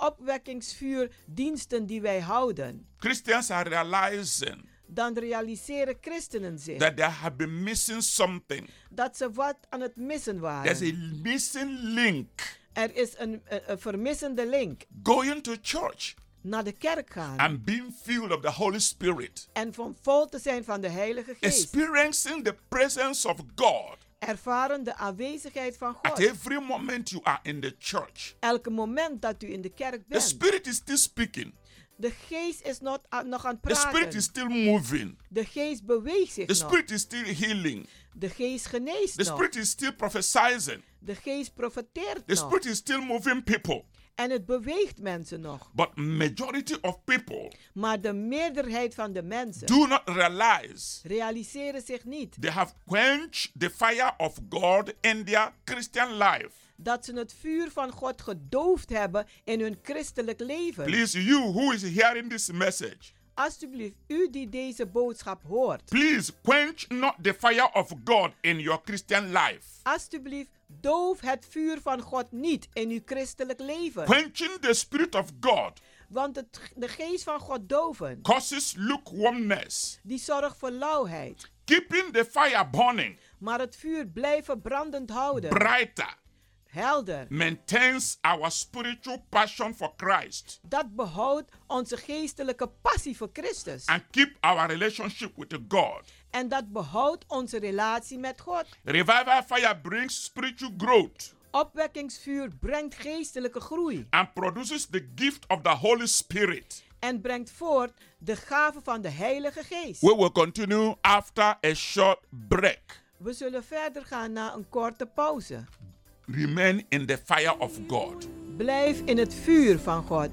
[SPEAKER 8] opwekkingsvuurdiensten die wij houden.
[SPEAKER 7] Christians are realizing
[SPEAKER 8] Dan realiseren christenen zich.
[SPEAKER 7] that they have been missing something.
[SPEAKER 8] dat ze wat aan het missen waren.
[SPEAKER 7] There's a missing link.
[SPEAKER 8] Er is een, een, een vermissende link.
[SPEAKER 7] Going to church
[SPEAKER 8] Naar de kerk gaan.
[SPEAKER 7] and being filled of the Holy Spirit,
[SPEAKER 8] en van vol te zijn van de Heilige Geest.
[SPEAKER 7] experiencing the presence of God
[SPEAKER 8] Ervaren de aanwezigheid van
[SPEAKER 7] at
[SPEAKER 8] God.
[SPEAKER 7] every moment you are in the church.
[SPEAKER 8] Elke moment dat u in de kerk
[SPEAKER 7] The
[SPEAKER 8] bent.
[SPEAKER 7] Spirit is still speaking,
[SPEAKER 8] De geest is not, a- nog aan het
[SPEAKER 7] the Spirit
[SPEAKER 8] praten.
[SPEAKER 7] is still moving,
[SPEAKER 8] De geest beweegt zich
[SPEAKER 7] the
[SPEAKER 8] nog.
[SPEAKER 7] Spirit is still healing,
[SPEAKER 8] De geest geneest
[SPEAKER 7] the
[SPEAKER 8] nog.
[SPEAKER 7] Spirit is still prophesying,
[SPEAKER 8] De geest profeteert
[SPEAKER 7] the
[SPEAKER 8] nog.
[SPEAKER 7] Spirit is still moving people.
[SPEAKER 8] En het beweegt mensen nog.
[SPEAKER 7] But majority of people
[SPEAKER 8] Maar de meerderheid van de mensen
[SPEAKER 7] do not realize
[SPEAKER 8] realiseren zich niet
[SPEAKER 7] they have quenched the fire of God in their Christian life.
[SPEAKER 8] dat ze het vuur van God gedoofd hebben in hun christelijk leven.
[SPEAKER 7] Please, you who is hearing this message,
[SPEAKER 8] Alsjeblieft, u die deze boodschap hoort.
[SPEAKER 7] please quench not the fire of God in your Christian life.
[SPEAKER 8] Alsjeblieft, doof het vuur van God niet in uw christelijk leven.
[SPEAKER 7] Quenching the spirit of God
[SPEAKER 8] Want het, de geest van God doven,
[SPEAKER 7] causes lukewarmness.
[SPEAKER 8] die zorgt voor lauwheid.
[SPEAKER 7] Keeping the fire burning
[SPEAKER 8] Maar het vuur blijven brandend houden,
[SPEAKER 7] brighter
[SPEAKER 8] helder.
[SPEAKER 7] maintains our spiritual passion for Christ
[SPEAKER 8] Dat behoudt onze geestelijke passie voor Christus.
[SPEAKER 7] and keep our relationship with God.
[SPEAKER 9] En dat behoudt onze relatie met God.
[SPEAKER 7] Revival fire brings spiritual growth
[SPEAKER 9] Opwekkingsvuur brengt geestelijke groei
[SPEAKER 7] and produces the gift of the Holy Spirit.
[SPEAKER 9] en brengt voort de gave van de Heilige Geest.
[SPEAKER 7] We will continue after a short break.
[SPEAKER 9] We zullen verder gaan na een korte pauze.
[SPEAKER 7] Remain in the fire of God.
[SPEAKER 9] Blijf in het vuur van God.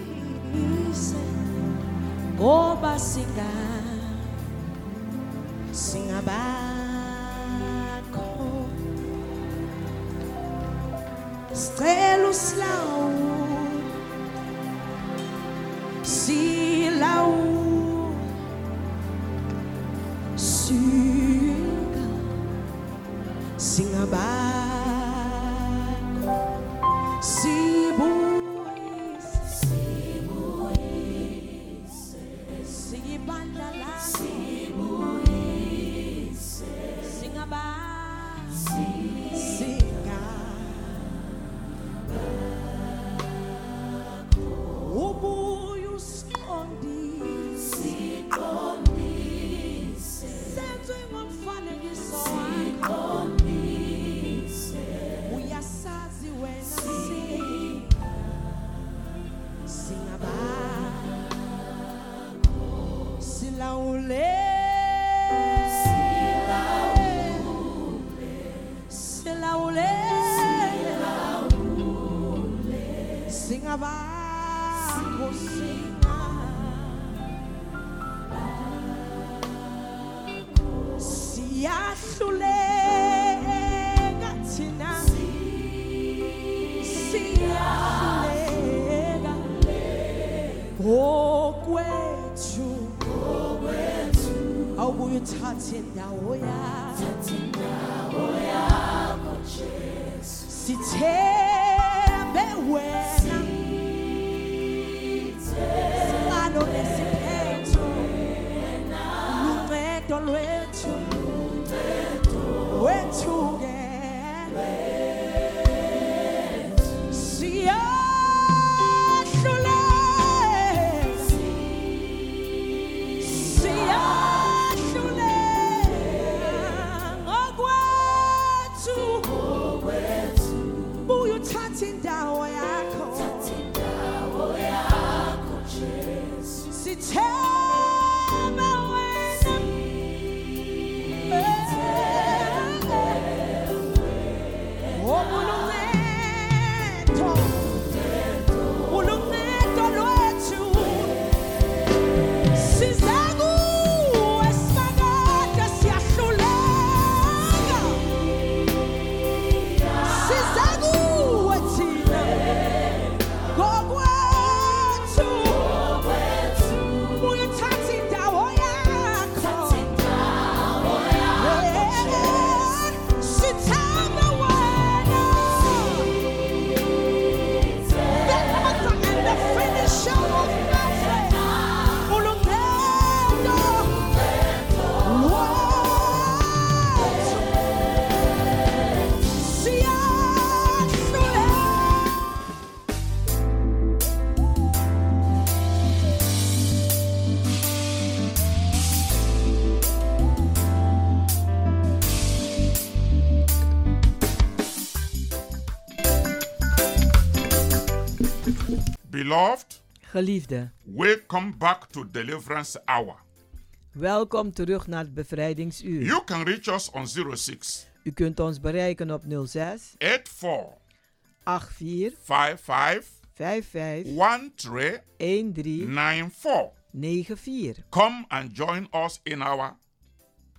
[SPEAKER 8] siqondise ngoba singa singabakho sicela usilawule silawule singa singabakho sibuyise Singibandla la sibuyise singaba singa ubuye usiqondise senze ngomfanekiso siqondise uyasazi wena singa singaba silawule silawule singabakho singa siyahluleka thina siyahluleka ngokwethu awubuye uthathe indawo yakho sithembe wena sibalo nesiphetho luncedo lwethu wethu ke siyahluleka siyahluleka okwethu buya uthathe indawo yakho sithembe wena Oh, obuluncedo uluncedo lwethu Show of nothing.
[SPEAKER 7] Beloved,
[SPEAKER 9] Geliefde,
[SPEAKER 7] welcome back to Deliverance Hour.
[SPEAKER 9] welkom terug naar het bevrijdingsuur.
[SPEAKER 7] You can reach us on 06
[SPEAKER 9] U kunt ons bereiken op 06
[SPEAKER 7] 84
[SPEAKER 9] 84
[SPEAKER 7] 55
[SPEAKER 9] 55 13
[SPEAKER 7] 1394.
[SPEAKER 9] 94.
[SPEAKER 7] Come and join us in our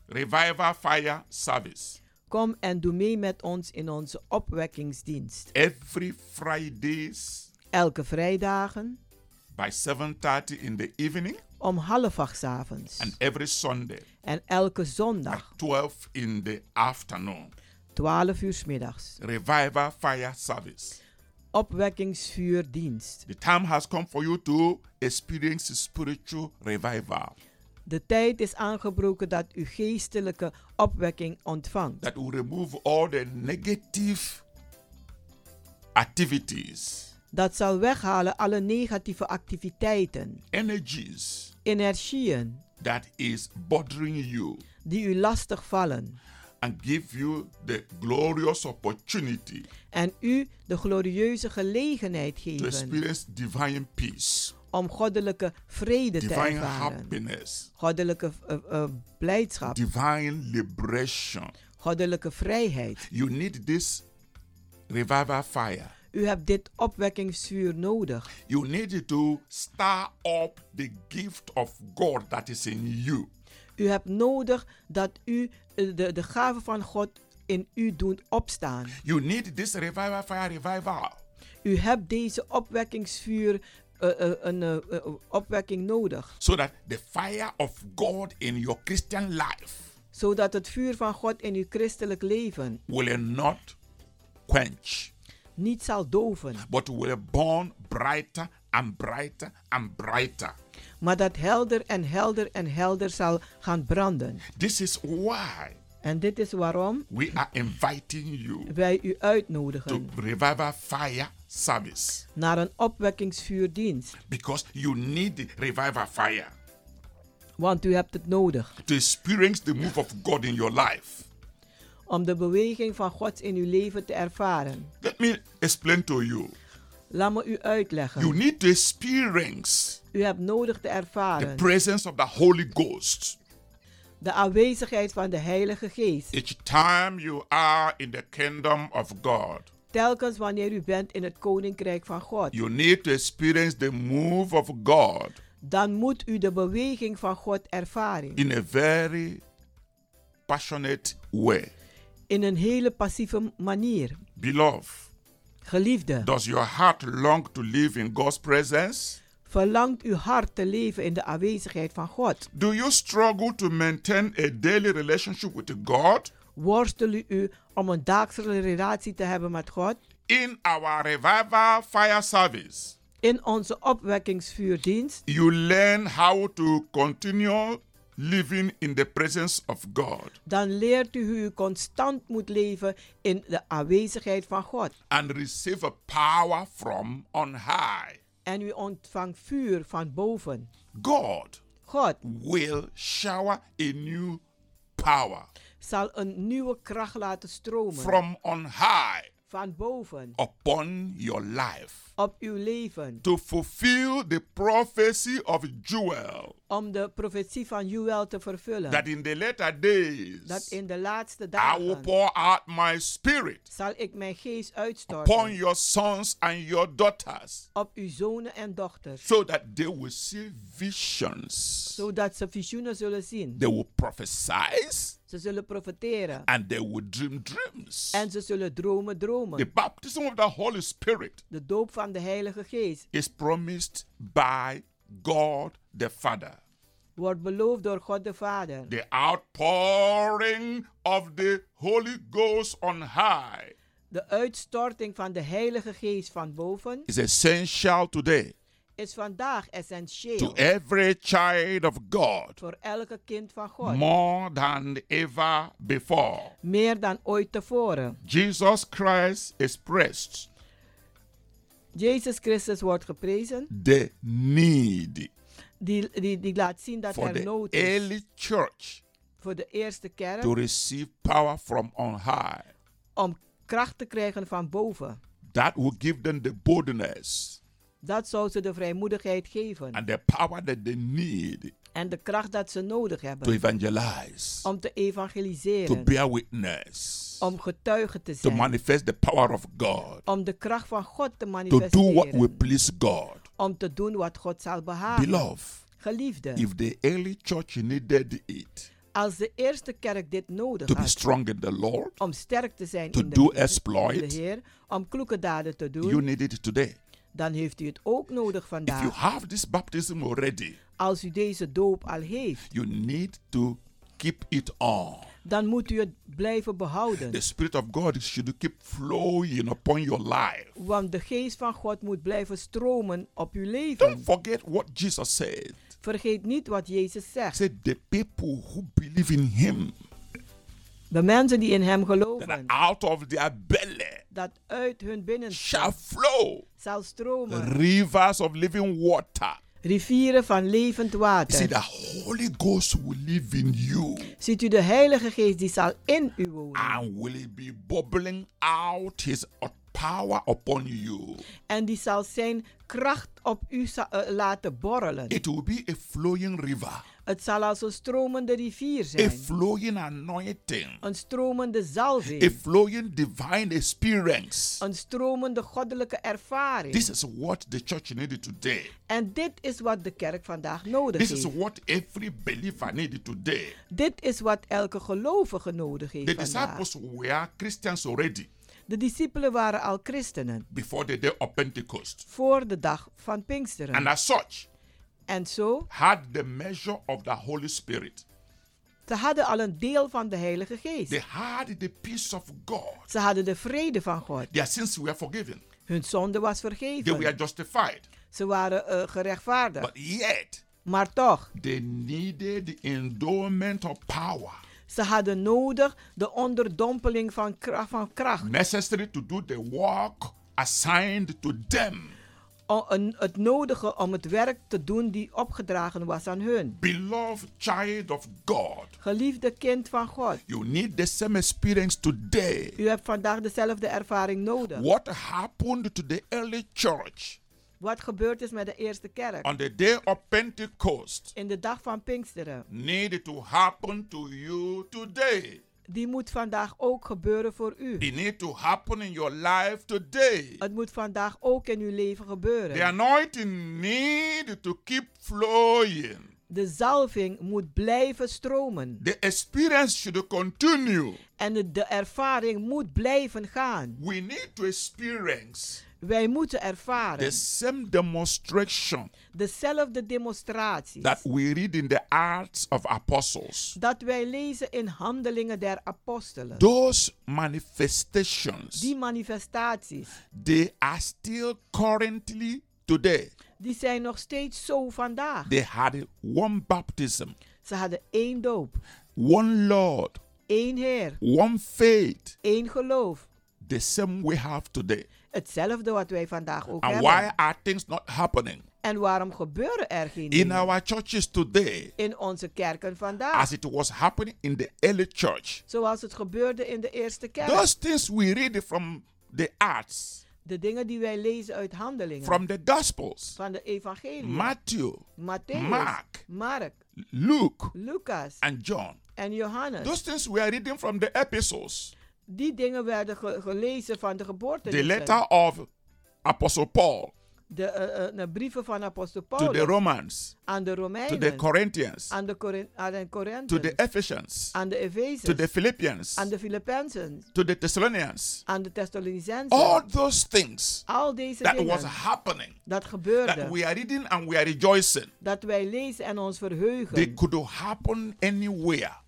[SPEAKER 7] Revival Fire service
[SPEAKER 9] Kom en doe mee met ons in onze opwekkingsdienst.
[SPEAKER 7] every Fridays
[SPEAKER 9] Elke vrijdagen
[SPEAKER 7] by 7:30 in the evening
[SPEAKER 9] om half acht 's avonds.
[SPEAKER 7] and every Sunday
[SPEAKER 9] En elke
[SPEAKER 7] at
[SPEAKER 9] zondag
[SPEAKER 7] 12 in the afternoon.
[SPEAKER 9] 12 uur 's middags.
[SPEAKER 7] Revival Fire service.
[SPEAKER 9] Opwekkingsvuurdienst.
[SPEAKER 7] The time has come for you to experience spiritual revival.
[SPEAKER 8] De tijd is aangebroken dat u geestelijke opwekking ontvangt.
[SPEAKER 7] that will remove all the negative activities,
[SPEAKER 8] Dat zal weghalen alle negatieve activiteiten,
[SPEAKER 7] energies
[SPEAKER 8] energieën
[SPEAKER 7] that is bothering you
[SPEAKER 8] die u lastig vallen.
[SPEAKER 7] and give you the glorious opportunity
[SPEAKER 8] En u de glorieuze gelegenheid
[SPEAKER 7] to
[SPEAKER 8] geven
[SPEAKER 7] experience divine peace,
[SPEAKER 8] om goddelijke vrede te
[SPEAKER 7] divine
[SPEAKER 8] ervaren.
[SPEAKER 7] happiness,
[SPEAKER 8] Goddelijke eh, eh, blijdschap,
[SPEAKER 7] divine liberation.
[SPEAKER 8] goddelijke vrijheid.
[SPEAKER 7] You need this revival fire.
[SPEAKER 8] U hebt dit opwekkingsvuur nodig.
[SPEAKER 7] You need to stir up the gift of God that is in you.
[SPEAKER 8] U hebt nodig dat u eh, de, de gaven van God in u doet opstaan.
[SPEAKER 7] You need this revival fire revival
[SPEAKER 8] U hebt deze opwekkingsvuur, eh, eh, een eh, eh, opwekking nodig.
[SPEAKER 7] so that the fire of God in your Christian life
[SPEAKER 8] Zodat het vuur van God in uw christelijk leven
[SPEAKER 7] will not quench,
[SPEAKER 8] niet zal doven.
[SPEAKER 7] but will burn brighter and brighter and brighter.
[SPEAKER 8] Maar dat helder en helder en helder zal gaan branden.
[SPEAKER 7] This is why
[SPEAKER 8] En dit is waarom
[SPEAKER 7] we are inviting you
[SPEAKER 8] wij u
[SPEAKER 7] to
[SPEAKER 8] uitnodigen
[SPEAKER 7] revival fire service
[SPEAKER 8] naar een opwekkingsvuurdienst.
[SPEAKER 7] because you need the revival fire
[SPEAKER 8] Want u hebt het nodig
[SPEAKER 7] to experience the move of God in your life.
[SPEAKER 8] om de beweging van God in uw leven te ervaren.
[SPEAKER 7] Let me explain to you.
[SPEAKER 8] Laat me u
[SPEAKER 7] You
[SPEAKER 8] uitleggen.
[SPEAKER 7] need to experience
[SPEAKER 8] U hebt nodig te
[SPEAKER 7] the
[SPEAKER 8] ervaren
[SPEAKER 7] presence of the Holy Ghost
[SPEAKER 8] de aanwezigheid van de Heilige Geest.
[SPEAKER 7] each time you are in the kingdom of God.
[SPEAKER 8] Telkens wanneer u bent in het Koninkrijk van God,
[SPEAKER 7] You need to experience the move of God
[SPEAKER 8] dan moet u de beweging van God ervaren.
[SPEAKER 7] in a very passionate way.
[SPEAKER 8] In een hele passieve manier.
[SPEAKER 7] Beloved,
[SPEAKER 8] Geliefde,
[SPEAKER 7] does your heart long to live in God's presence?
[SPEAKER 8] verlangt uw hart te leven in de aanwezigheid van God?
[SPEAKER 7] Do you struggle to maintain a daily relationship with God?
[SPEAKER 8] Worstel u om een dagelijkse relatie te hebben met God?
[SPEAKER 7] In our revival fire service,
[SPEAKER 8] In onze opwekkingsvuurdienst
[SPEAKER 7] you learn how to continue living in the presence of God
[SPEAKER 8] dan leert u hoe u constant moet leven in de aanwezigheid van God.
[SPEAKER 7] and receive a power from on high.
[SPEAKER 8] En u ontvangt vuur van boven.
[SPEAKER 7] God
[SPEAKER 8] God
[SPEAKER 7] will shower a new power
[SPEAKER 8] zal een nieuwe kracht laten stromen
[SPEAKER 7] from on high
[SPEAKER 8] van boven
[SPEAKER 7] upon your life
[SPEAKER 8] op uw leven.
[SPEAKER 7] to fulfill the prophecy of Joel
[SPEAKER 8] Om de profetie van Joel te vervullen.
[SPEAKER 7] that in the later days
[SPEAKER 8] dat in de laatste
[SPEAKER 7] I will
[SPEAKER 8] dagen
[SPEAKER 7] pour out my spirit
[SPEAKER 8] zal ik mijn geest
[SPEAKER 7] upon
[SPEAKER 8] uitstorten
[SPEAKER 7] your sons and your daughters
[SPEAKER 8] op uw zonen en dochters.
[SPEAKER 7] so that they will see visions.
[SPEAKER 8] Zodat ze visioenen zullen zien.
[SPEAKER 7] They will prophesy
[SPEAKER 8] Ze zullen profeteren.
[SPEAKER 7] and they will dream dreams.
[SPEAKER 8] En ze zullen dromen
[SPEAKER 7] The
[SPEAKER 8] dromen.
[SPEAKER 7] baptism of the Holy Spirit
[SPEAKER 8] De doop van de Heilige Geest
[SPEAKER 7] is promised by God the Father.
[SPEAKER 8] wordt beloofd door God de Vader.
[SPEAKER 7] The outpouring of the Holy Ghost on high
[SPEAKER 8] De uitstorting van de Heilige Geest van boven
[SPEAKER 7] is essential today
[SPEAKER 8] is vandaag
[SPEAKER 7] to e-
[SPEAKER 8] essentieel
[SPEAKER 7] every child of God
[SPEAKER 8] voor elke kind van God.
[SPEAKER 7] more than ever before.
[SPEAKER 8] Meer dan ooit tevoren.
[SPEAKER 7] Jesus Christ expressed
[SPEAKER 8] Jezus Christus wordt geprezen.
[SPEAKER 7] the need
[SPEAKER 8] Die, die, die laat zien dat
[SPEAKER 7] for
[SPEAKER 8] er
[SPEAKER 7] the
[SPEAKER 8] nood is
[SPEAKER 7] early church
[SPEAKER 8] voor de eerste
[SPEAKER 7] to
[SPEAKER 8] kerk
[SPEAKER 7] receive power from on high.
[SPEAKER 8] om kracht te krijgen van boven.
[SPEAKER 7] That will give them the boldness
[SPEAKER 8] Dat zou ze de vrijmoedigheid geven
[SPEAKER 7] and the power that they need
[SPEAKER 8] en de kracht dat ze nodig
[SPEAKER 7] to
[SPEAKER 8] hebben
[SPEAKER 7] evangelize,
[SPEAKER 8] om te
[SPEAKER 7] to
[SPEAKER 8] evangeliseren,
[SPEAKER 7] bear witness,
[SPEAKER 8] om getuige te
[SPEAKER 7] to
[SPEAKER 8] zijn,
[SPEAKER 7] manifest the power of God,
[SPEAKER 8] om de kracht van God te
[SPEAKER 7] to do what will
[SPEAKER 8] manifesteren,
[SPEAKER 7] please God.
[SPEAKER 8] om te doen wat God zal behagen.
[SPEAKER 7] Beloved,
[SPEAKER 8] Geliefde,
[SPEAKER 7] if the early church needed it
[SPEAKER 8] als de eerste kerk dit
[SPEAKER 7] to
[SPEAKER 8] nodig
[SPEAKER 7] be
[SPEAKER 8] had
[SPEAKER 7] strong in the Lord,
[SPEAKER 8] om sterk te zijn
[SPEAKER 7] to
[SPEAKER 8] Ah. in um, de,
[SPEAKER 7] do
[SPEAKER 8] Heer- in
[SPEAKER 7] exploit,
[SPEAKER 8] de Heer, om kloeke daden te doen,
[SPEAKER 7] you need it today.
[SPEAKER 8] dan heeft u het ook nodig
[SPEAKER 7] If you
[SPEAKER 8] vandaag.
[SPEAKER 7] have this baptism already,
[SPEAKER 8] Als u deze doop al heeft,
[SPEAKER 7] you need to keep it on.
[SPEAKER 8] dan moet u het blijven behouden.
[SPEAKER 7] The Spirit of God should keep flowing upon your life.
[SPEAKER 8] Want de geest van God moet blijven stromen op uw leven.
[SPEAKER 7] Don't forget what Jesus said.
[SPEAKER 8] Vergeet niet wat Jezus
[SPEAKER 7] He
[SPEAKER 8] zegt.
[SPEAKER 7] said, The people who believe in him,
[SPEAKER 8] De mensen die in hem
[SPEAKER 7] that
[SPEAKER 8] geloven,
[SPEAKER 7] out of their belly
[SPEAKER 8] dat uit hun binnen
[SPEAKER 7] shall flow
[SPEAKER 8] zal stromen
[SPEAKER 7] rivers of living water.
[SPEAKER 8] rivieren van levend
[SPEAKER 7] You see,
[SPEAKER 8] water.
[SPEAKER 7] the Holy Ghost will live in you
[SPEAKER 8] Ziet u de Heilige Geest die zal in u wonen
[SPEAKER 7] and will be bubbling out his power upon you.
[SPEAKER 8] en die zal zijn kracht op u za- eh, laten borrelen.
[SPEAKER 7] It will be a flowing river,
[SPEAKER 8] Het zal als een stromende rivier
[SPEAKER 7] a
[SPEAKER 8] zijn,
[SPEAKER 7] flowing anointing,
[SPEAKER 8] een stromende
[SPEAKER 7] a
[SPEAKER 8] zalving,
[SPEAKER 7] flowing divine experience.
[SPEAKER 8] een stromende goddelijke ervaring.
[SPEAKER 7] This is what the church needed today.
[SPEAKER 8] En dit is wat de kerk vandaag nodig
[SPEAKER 7] This is
[SPEAKER 8] heeft.
[SPEAKER 7] what every believer needed today.
[SPEAKER 8] Dit is wat elke gelovige nodig heeft
[SPEAKER 7] The
[SPEAKER 8] vandaag.
[SPEAKER 7] disciples were Christians already
[SPEAKER 8] De discipelen waren al christenen
[SPEAKER 7] before the day of Pentecost,
[SPEAKER 8] voor de dag van
[SPEAKER 7] and
[SPEAKER 8] Pinksteren.
[SPEAKER 7] as such,
[SPEAKER 8] En zo,
[SPEAKER 7] had the measure of the Holy Spirit.
[SPEAKER 8] ze hadden al een deel van de Heilige
[SPEAKER 7] They
[SPEAKER 8] Geest.
[SPEAKER 7] had the peace of God.
[SPEAKER 8] Ze hadden de vrede van God.
[SPEAKER 7] Their sins were forgiven.
[SPEAKER 8] Hun zonde was
[SPEAKER 7] They were
[SPEAKER 8] vergeven.
[SPEAKER 7] justified.
[SPEAKER 8] Ze waren eh, gerechtvaardigd.
[SPEAKER 7] But yet,
[SPEAKER 8] Maar toch,
[SPEAKER 7] they needed the endowment of power
[SPEAKER 8] ze hadden nodig de onderdompeling van kracht, van kracht
[SPEAKER 7] Mm. necessary to do the work assigned to them.
[SPEAKER 8] O- een- het nodige om het werk te doen die opgedragen was aan hun.
[SPEAKER 7] Beloved child of God,
[SPEAKER 8] Geliefde kind van God,
[SPEAKER 7] you need the same experience today.
[SPEAKER 8] u hebt vandaag dezelfde ervaring nodig.
[SPEAKER 7] What happened to the early church
[SPEAKER 8] Wat gebeurd is met de eerste kerk
[SPEAKER 7] on the day of Pentecost
[SPEAKER 8] in de dag van Pinksteren,
[SPEAKER 7] needed to happen to you today.
[SPEAKER 8] die moet vandaag ook gebeuren voor u.
[SPEAKER 7] It need to happen in your life today.
[SPEAKER 8] Het moet vandaag ook in uw leven
[SPEAKER 7] The
[SPEAKER 8] gebeuren.
[SPEAKER 7] anointing need to keep flowing.
[SPEAKER 8] De zalving moet blijven stromen
[SPEAKER 7] The experience should continue.
[SPEAKER 8] en de, de ervaring moet blijven gaan.
[SPEAKER 7] We need to experience
[SPEAKER 8] Wij moeten
[SPEAKER 7] the
[SPEAKER 8] ervaren
[SPEAKER 7] same demonstration
[SPEAKER 8] dezelfde demonstraties
[SPEAKER 7] that we read in the Acts of Apostles.
[SPEAKER 8] dat wij lezen in Handelingen der Apostelen.
[SPEAKER 7] Those manifestations,
[SPEAKER 8] Die manifestaties,
[SPEAKER 7] they are still currently today.
[SPEAKER 8] die zijn nog steeds zo vandaag.
[SPEAKER 7] They had one baptism,
[SPEAKER 8] Ze hadden één doop,
[SPEAKER 7] one Lord,
[SPEAKER 8] één Heer,
[SPEAKER 7] one faith,
[SPEAKER 8] één geloof.
[SPEAKER 7] the same we have today.
[SPEAKER 8] Hetzelfde wat wij vandaag ook
[SPEAKER 7] And
[SPEAKER 8] hebben.
[SPEAKER 7] why are things not happening
[SPEAKER 8] En waarom gebeuren er geen
[SPEAKER 7] in
[SPEAKER 8] dingen
[SPEAKER 7] our churches today
[SPEAKER 8] in onze kerken vandaag?
[SPEAKER 7] as it was happening in the early church?
[SPEAKER 8] Zoals het gebeurde in de eerste kerk.
[SPEAKER 7] Those things we read from the Acts,
[SPEAKER 8] de dingen die wij lezen uit handelingen.
[SPEAKER 7] from the Gospels,
[SPEAKER 8] van de evangelie.
[SPEAKER 7] Matthew,
[SPEAKER 8] Matthäus,
[SPEAKER 7] Mark.
[SPEAKER 8] Mark,
[SPEAKER 7] Luke,
[SPEAKER 8] Lucas
[SPEAKER 7] and John.
[SPEAKER 8] en Johannes.
[SPEAKER 7] Those things we are reading from the epistles,
[SPEAKER 8] die dingen werden ge- gelezen van de geboorte.
[SPEAKER 7] the letter of Apostle Paul
[SPEAKER 8] de, eh, eh, de brieven van apostel
[SPEAKER 7] to
[SPEAKER 8] Paulus
[SPEAKER 7] the Romans,
[SPEAKER 8] aan de
[SPEAKER 7] to
[SPEAKER 8] Romeinen,
[SPEAKER 7] the Corinthians,
[SPEAKER 8] aan de, Corin- aan de
[SPEAKER 7] to
[SPEAKER 8] Corinthians,
[SPEAKER 7] the Ephesians,
[SPEAKER 8] aan de
[SPEAKER 7] to
[SPEAKER 8] Efezes,
[SPEAKER 7] the Philippians,
[SPEAKER 8] aan de Filippenzen,
[SPEAKER 7] to the Thessalonians.
[SPEAKER 8] aan de Thessalonicenzen.
[SPEAKER 7] All those things
[SPEAKER 8] Al deze
[SPEAKER 7] Oh, that
[SPEAKER 8] dingen,
[SPEAKER 7] was happening
[SPEAKER 8] dat gebeurde,
[SPEAKER 7] that we are reading and we are rejoicing.
[SPEAKER 8] dat wij lezen en ons verheugen,
[SPEAKER 7] They could happen anywhere.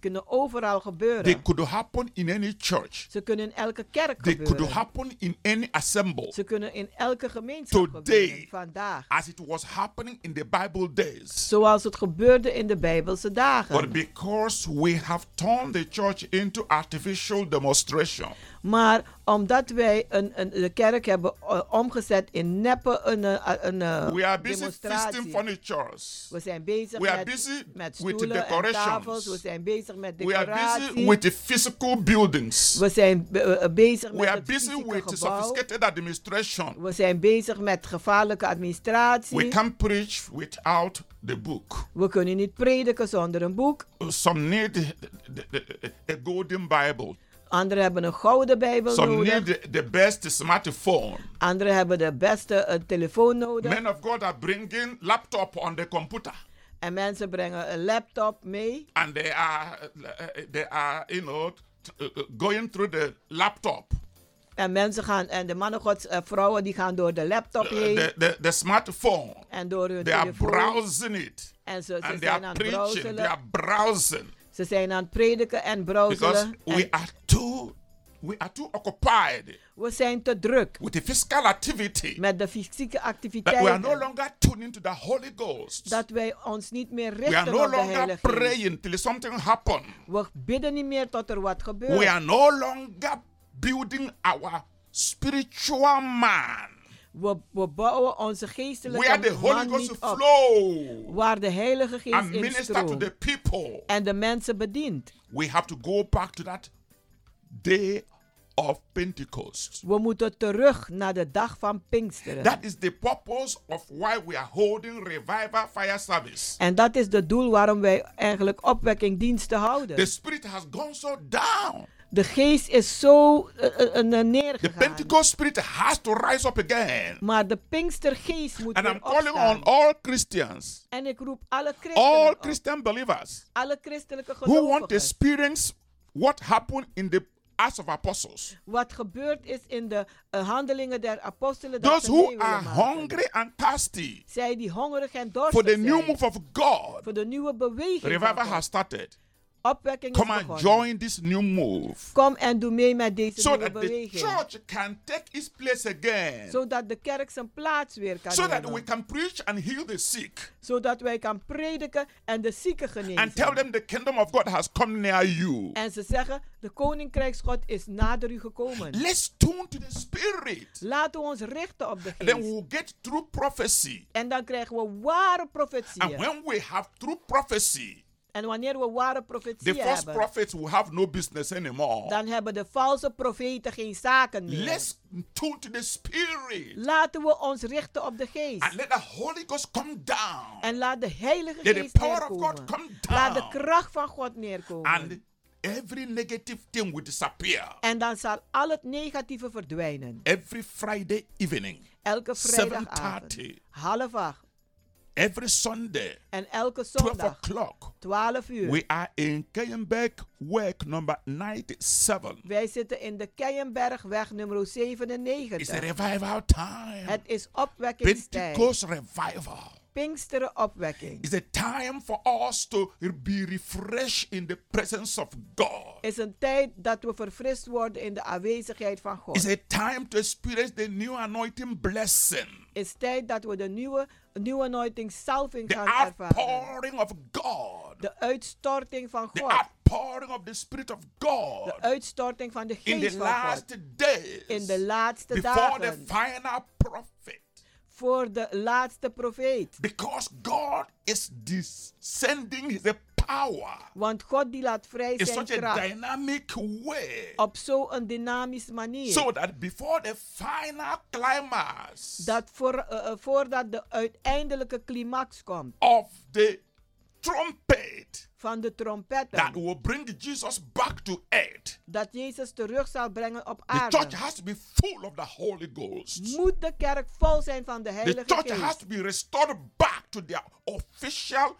[SPEAKER 8] kunnen overal gebeuren.
[SPEAKER 7] They could happen in any church.
[SPEAKER 8] Ze kunnen in elke kerk
[SPEAKER 7] They could
[SPEAKER 8] gebeuren.
[SPEAKER 7] happen in any assemble.
[SPEAKER 8] Ze kunnen in elke gemeenschap
[SPEAKER 7] Today.
[SPEAKER 8] gebeuren, vandaag.
[SPEAKER 7] As it was happening in the Bible days.
[SPEAKER 8] Zoals het gebeurde in de Bijbelse dagen.
[SPEAKER 7] But because we have turned the church into artificial demonstration,
[SPEAKER 8] Maar omdat wij een, een, de kerk hebben eh, omgezet in neppe een, eh, een, eh,
[SPEAKER 7] we are busy feasting
[SPEAKER 8] demonstratie.
[SPEAKER 7] furnitures.
[SPEAKER 8] We zijn bezig
[SPEAKER 7] We are
[SPEAKER 8] met,
[SPEAKER 7] busy
[SPEAKER 8] met
[SPEAKER 7] with
[SPEAKER 8] stoelen en
[SPEAKER 7] decorations.
[SPEAKER 8] tafels. We zijn bezig met
[SPEAKER 7] We are
[SPEAKER 8] decoraties.
[SPEAKER 7] busy with the physical buildings.
[SPEAKER 8] we zijn be- eh, bezig
[SPEAKER 7] We
[SPEAKER 8] met
[SPEAKER 7] are
[SPEAKER 8] het
[SPEAKER 7] busy
[SPEAKER 8] fysieke
[SPEAKER 7] with
[SPEAKER 8] gebouw.
[SPEAKER 7] sophisticated administration.
[SPEAKER 8] We zijn bezig met gevaarlijke administratie.
[SPEAKER 7] We can't preach without the book.
[SPEAKER 8] we kunnen niet prediken zonder een boek.
[SPEAKER 7] Some need the- the- a golden Bible.
[SPEAKER 8] Anderen hebben een gouden Bijbel
[SPEAKER 7] Some
[SPEAKER 8] nodig.
[SPEAKER 7] need the, the best smartphone.
[SPEAKER 8] Anderen hebben de beste eh, telefoon nodig.
[SPEAKER 7] Men of God are bringing laptop on the computer,
[SPEAKER 8] en mensen brengen een laptop mee.
[SPEAKER 7] and they are uh, they are you know t- uh, uh, going through the laptop,
[SPEAKER 8] En mensen gaan, en de mannen gods, eh, vrouwen die gaan door de laptop
[SPEAKER 7] uh,
[SPEAKER 8] heen.
[SPEAKER 7] the, the the smartphone.
[SPEAKER 8] en door hun
[SPEAKER 7] They are
[SPEAKER 8] telefoon.
[SPEAKER 7] browsing it,
[SPEAKER 8] en ze, ze
[SPEAKER 7] and they
[SPEAKER 8] zijn
[SPEAKER 7] are
[SPEAKER 8] aan het browselen.
[SPEAKER 7] preaching. They are browsing
[SPEAKER 8] Ze zijn aan het prediken en
[SPEAKER 7] because
[SPEAKER 8] browselen.
[SPEAKER 7] we
[SPEAKER 8] En
[SPEAKER 7] are too We are too occupied
[SPEAKER 8] We zijn te druk
[SPEAKER 7] with the physical activity
[SPEAKER 8] met de fysieke
[SPEAKER 7] that we are no
[SPEAKER 8] activiteiten.
[SPEAKER 7] longer tuning to the Holy Ghost.
[SPEAKER 8] Dat wij ons niet meer
[SPEAKER 7] we are
[SPEAKER 8] richten
[SPEAKER 7] no
[SPEAKER 8] op de
[SPEAKER 7] longer
[SPEAKER 8] Heilige Geest.
[SPEAKER 7] praying till something happens.
[SPEAKER 8] We bidden niet meer tot er wat
[SPEAKER 7] We
[SPEAKER 8] gebeurt.
[SPEAKER 7] are no longer building our spiritual man
[SPEAKER 8] We, we bouwen onze
[SPEAKER 7] where the
[SPEAKER 8] geestelijke
[SPEAKER 7] Holy
[SPEAKER 8] man
[SPEAKER 7] Ghost
[SPEAKER 8] niet op.
[SPEAKER 7] flow
[SPEAKER 8] Waar de Heilige Geest
[SPEAKER 7] and
[SPEAKER 8] in
[SPEAKER 7] minister to the
[SPEAKER 8] stroomt
[SPEAKER 7] people.
[SPEAKER 8] en de mensen bedient.
[SPEAKER 7] We have to go back to that day of Pentecost.
[SPEAKER 8] We moeten terug naar de dag van Pinksteren.
[SPEAKER 7] That is the purpose of why we are holding revival fire service.
[SPEAKER 8] En dat is het doel waarom wij eigenlijk opwekkingdiensten
[SPEAKER 7] The
[SPEAKER 8] houden.
[SPEAKER 7] spirit has gone so down.
[SPEAKER 8] De geest is zo eh, eh, eh,
[SPEAKER 7] The
[SPEAKER 8] neergegaan.
[SPEAKER 7] Pentecost spirit has to rise up again.
[SPEAKER 8] Maar de Pinkstergeest moet
[SPEAKER 7] And I'm
[SPEAKER 8] weer
[SPEAKER 7] calling on
[SPEAKER 8] opstaan.
[SPEAKER 7] all Christians,
[SPEAKER 8] En ik roep alle christenen
[SPEAKER 7] all
[SPEAKER 8] op,
[SPEAKER 7] Christian uh, believers
[SPEAKER 8] alle christelijke
[SPEAKER 7] who want to
[SPEAKER 8] gelovigen.
[SPEAKER 7] experience what happened in the Acts of Apostles.
[SPEAKER 8] Wat gebeurd is in de eh, handelingen der apostelen. Dat
[SPEAKER 7] Those
[SPEAKER 8] ze mee
[SPEAKER 7] who
[SPEAKER 8] willen
[SPEAKER 7] are
[SPEAKER 8] maken.
[SPEAKER 7] hungry and thirsty
[SPEAKER 8] Zij die hongerig en
[SPEAKER 7] for
[SPEAKER 8] dorstig
[SPEAKER 7] the
[SPEAKER 8] zijn.
[SPEAKER 7] new move of God.
[SPEAKER 8] voor de nieuwe beweging.
[SPEAKER 7] Revival
[SPEAKER 8] van God.
[SPEAKER 7] has started.
[SPEAKER 8] Opwekking
[SPEAKER 7] Come
[SPEAKER 8] is
[SPEAKER 7] and
[SPEAKER 8] begonnen.
[SPEAKER 7] join this new move
[SPEAKER 8] Kom en doe mee met deze
[SPEAKER 7] so
[SPEAKER 8] nieuwe
[SPEAKER 7] that the
[SPEAKER 8] beweging.
[SPEAKER 7] church can take its place again.
[SPEAKER 8] Zodat de kerk zijn plaats weer kan
[SPEAKER 7] So that
[SPEAKER 8] nemen.
[SPEAKER 7] we can preach and heal the sick
[SPEAKER 8] Zodat wij kan prediken en de zieken genezen.
[SPEAKER 7] and tell them the kingdom of God has come near you.
[SPEAKER 8] En ze zeggen, de koninkrijksgod is nader u gekomen.
[SPEAKER 7] Let's tune to the spirit.
[SPEAKER 8] Laten we ons richten op de
[SPEAKER 7] And then
[SPEAKER 8] geest.
[SPEAKER 7] we'll get true prophecy.
[SPEAKER 8] En dan krijgen we ware
[SPEAKER 7] And
[SPEAKER 8] profetieën.
[SPEAKER 7] when we have true prophecy,
[SPEAKER 8] En wanneer we ware
[SPEAKER 7] the
[SPEAKER 8] profetieën
[SPEAKER 7] false
[SPEAKER 8] hebben,
[SPEAKER 7] prophets will have no business anymore.
[SPEAKER 8] dan hebben de valse profeten geen zaken meer.
[SPEAKER 7] Let's tune to the spirit
[SPEAKER 8] Laten we ons richten op de geest.
[SPEAKER 7] and let the Holy Ghost come down
[SPEAKER 8] En laat de heilige
[SPEAKER 7] Let the
[SPEAKER 8] geest
[SPEAKER 7] power of
[SPEAKER 8] neerkomen.
[SPEAKER 7] God come down.
[SPEAKER 8] Laat de kracht van God neerkomen.
[SPEAKER 7] and every negative thing will disappear.
[SPEAKER 8] en dan zal al het negatieve verdwijnen.
[SPEAKER 7] Every Friday evening,
[SPEAKER 8] Elke vrijdagavond,
[SPEAKER 7] 7:30.
[SPEAKER 8] half acht
[SPEAKER 7] every Sunday,
[SPEAKER 8] en elke
[SPEAKER 7] 12
[SPEAKER 8] zondag,
[SPEAKER 7] o'clock,
[SPEAKER 8] 12 uur.
[SPEAKER 7] we are in Kayenberg work number 97.
[SPEAKER 8] Wij zitten in de Keienbergweg nummer
[SPEAKER 7] It's a
[SPEAKER 8] 97.
[SPEAKER 7] revival time.
[SPEAKER 8] Het is opwekkingstijd.
[SPEAKER 7] Pentecost revival.
[SPEAKER 8] Pinksteren opwekking.
[SPEAKER 7] It's a time for us to be refreshed in the presence of God.
[SPEAKER 8] Is een tijd dat we verfrist worden in de aanwezigheid van
[SPEAKER 7] It's
[SPEAKER 8] God.
[SPEAKER 7] a time to experience the new anointing blessing,
[SPEAKER 8] Is tijd dat we de nieuwe, nieuwe anointing salving
[SPEAKER 7] the
[SPEAKER 8] gaan ervaren.
[SPEAKER 7] outpouring of God,
[SPEAKER 8] De uitstorting van
[SPEAKER 7] the
[SPEAKER 8] God.
[SPEAKER 7] outpouring of the Spirit of God
[SPEAKER 8] De uitstorting van de
[SPEAKER 7] in the
[SPEAKER 8] geest van God.
[SPEAKER 7] last days,
[SPEAKER 8] In de laatste
[SPEAKER 7] before the
[SPEAKER 8] dagen.
[SPEAKER 7] final prophet.
[SPEAKER 8] Voor de laatste profeet.
[SPEAKER 7] Because God is descending His power
[SPEAKER 8] Want God die laat vrij
[SPEAKER 7] in
[SPEAKER 8] zijn
[SPEAKER 7] such a
[SPEAKER 8] kracht.
[SPEAKER 7] dynamic way.
[SPEAKER 8] Op zo'n dynamische manier.
[SPEAKER 7] So that before the final climax,
[SPEAKER 8] dat voor, eh, eh, voordat de uiteindelijke climax komt
[SPEAKER 7] of the trumpet
[SPEAKER 8] van de trompetten,
[SPEAKER 7] that will bring Jesus back to earth.
[SPEAKER 8] dat Jezus terug zal brengen op
[SPEAKER 7] The church
[SPEAKER 8] aarde,
[SPEAKER 7] has to be full of the Holy Ghost.
[SPEAKER 8] moet de kerk vol zijn van de
[SPEAKER 7] The
[SPEAKER 8] Heilige
[SPEAKER 7] church has
[SPEAKER 8] Geest.
[SPEAKER 7] to be restored back to their official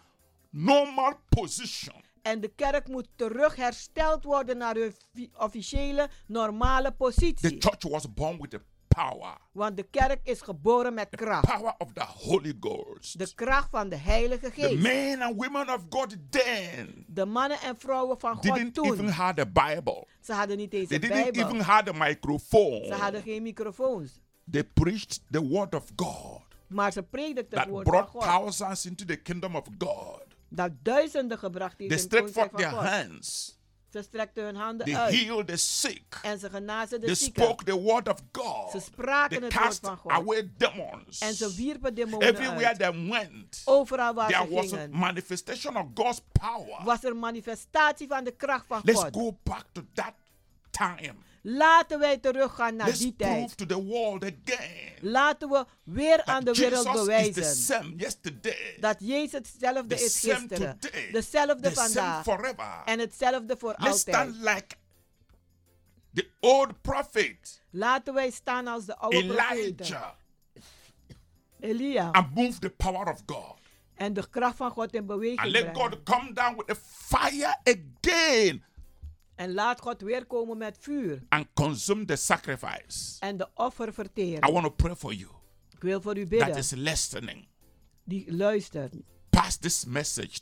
[SPEAKER 7] normal position.
[SPEAKER 8] En de kerk moet terug hersteld worden naar hun fi- officiële, normale
[SPEAKER 7] The
[SPEAKER 8] positie.
[SPEAKER 7] church was born with the power,
[SPEAKER 8] Want de kerk is geboren met kracht.
[SPEAKER 7] power of the Holy Ghost.
[SPEAKER 8] De kracht van de Heilige
[SPEAKER 7] The
[SPEAKER 8] Geest.
[SPEAKER 7] men and women of God then
[SPEAKER 8] De mannen en vrouwen van God
[SPEAKER 7] didn't even
[SPEAKER 8] toen.
[SPEAKER 7] have the Bible.
[SPEAKER 8] Ze hadden niet eens
[SPEAKER 7] They
[SPEAKER 8] een
[SPEAKER 7] didn't even
[SPEAKER 8] Bijbel.
[SPEAKER 7] have the microphone.
[SPEAKER 8] Ze hadden geen microfoons.
[SPEAKER 7] They preached the word of God.
[SPEAKER 8] Maar ze predikten het
[SPEAKER 7] that
[SPEAKER 8] woord van
[SPEAKER 7] brought
[SPEAKER 8] God.
[SPEAKER 7] thousands into the kingdom of God.
[SPEAKER 8] dat duizenden gebracht heeft
[SPEAKER 7] They
[SPEAKER 8] in het
[SPEAKER 7] stretched
[SPEAKER 8] koninkrijk
[SPEAKER 7] forth
[SPEAKER 8] van
[SPEAKER 7] their
[SPEAKER 8] God.
[SPEAKER 7] hands.
[SPEAKER 8] Ze strekten hun handen
[SPEAKER 7] They
[SPEAKER 8] uit
[SPEAKER 7] healed the sick.
[SPEAKER 8] en ze genazen de
[SPEAKER 7] They
[SPEAKER 8] zieken.
[SPEAKER 7] spoke the word of God.
[SPEAKER 8] Ze spraken
[SPEAKER 7] They
[SPEAKER 8] het
[SPEAKER 7] cast
[SPEAKER 8] woord van God.
[SPEAKER 7] away demons.
[SPEAKER 8] En ze wierpen demonen
[SPEAKER 7] Everywhere
[SPEAKER 8] uit.
[SPEAKER 7] they went,
[SPEAKER 8] Overal waar
[SPEAKER 7] there
[SPEAKER 8] ze
[SPEAKER 7] was a
[SPEAKER 8] gingen
[SPEAKER 7] manifestation of God's power.
[SPEAKER 8] was er manifestatie van de kracht van
[SPEAKER 7] Let's
[SPEAKER 8] God.
[SPEAKER 7] go back to that time.
[SPEAKER 8] Laten wij teruggaan naar
[SPEAKER 7] Let's
[SPEAKER 8] die tijd.
[SPEAKER 7] prove to the world again
[SPEAKER 8] Laten we weer aan
[SPEAKER 7] that
[SPEAKER 8] de wereld
[SPEAKER 7] Jesus is the
[SPEAKER 8] bewijzen
[SPEAKER 7] same yesterday,
[SPEAKER 8] dat Jezus hetzelfde
[SPEAKER 7] the
[SPEAKER 8] is
[SPEAKER 7] same
[SPEAKER 8] gisteren,
[SPEAKER 7] today,
[SPEAKER 8] dezelfde
[SPEAKER 7] the same
[SPEAKER 8] vandaag
[SPEAKER 7] forever.
[SPEAKER 8] en hetzelfde voor
[SPEAKER 7] Let's
[SPEAKER 8] altijd.
[SPEAKER 7] stand like the old prophet
[SPEAKER 8] Laten wij staan als de oude profeten,
[SPEAKER 7] Elijah
[SPEAKER 8] Elia,
[SPEAKER 7] and move the power of God.
[SPEAKER 8] en de kracht van God in
[SPEAKER 7] And
[SPEAKER 8] beweging
[SPEAKER 7] let
[SPEAKER 8] brengen.
[SPEAKER 7] God come down with the fire again
[SPEAKER 8] En laat God weer komen met vuur.
[SPEAKER 7] and consume the sacrifice.
[SPEAKER 8] en de offer
[SPEAKER 7] I
[SPEAKER 8] verteren.
[SPEAKER 7] want to pray for you
[SPEAKER 8] Ik wil voor u
[SPEAKER 7] that
[SPEAKER 8] bidden,
[SPEAKER 7] is listening.
[SPEAKER 8] die luistert.
[SPEAKER 7] Pass this message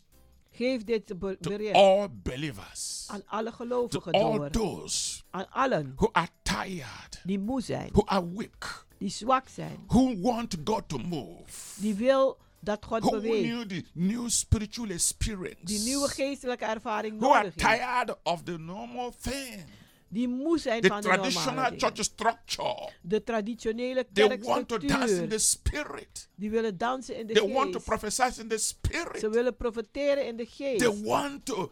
[SPEAKER 8] Geef dit be-
[SPEAKER 7] to
[SPEAKER 8] bericht
[SPEAKER 7] all believers,
[SPEAKER 8] aan alle
[SPEAKER 7] to
[SPEAKER 8] gelovigen
[SPEAKER 7] all
[SPEAKER 8] door.
[SPEAKER 7] those
[SPEAKER 8] Aan allen
[SPEAKER 7] who are tired,
[SPEAKER 8] die moe zijn,
[SPEAKER 7] who are weak,
[SPEAKER 8] die zwak zijn,
[SPEAKER 7] who want God to move,
[SPEAKER 8] die wil dat God
[SPEAKER 7] who
[SPEAKER 8] beweegt,
[SPEAKER 7] need the new spiritual
[SPEAKER 8] die nieuwe
[SPEAKER 7] experience,
[SPEAKER 8] geestelijke ervaring
[SPEAKER 7] who are
[SPEAKER 8] nodig heeft,
[SPEAKER 7] tired of the normal thing,
[SPEAKER 8] die moe zijn
[SPEAKER 7] the
[SPEAKER 8] van de normale
[SPEAKER 7] traditional
[SPEAKER 8] dingen.
[SPEAKER 7] church structure.
[SPEAKER 8] De traditionele
[SPEAKER 7] They want to dance in the
[SPEAKER 8] kerkstructuur,
[SPEAKER 7] spirit.
[SPEAKER 8] die willen dansen in de
[SPEAKER 7] They want to
[SPEAKER 8] geest.
[SPEAKER 7] prophesy in the spirit.
[SPEAKER 8] Ze willen profiteren in de
[SPEAKER 7] They
[SPEAKER 8] geest.
[SPEAKER 7] want to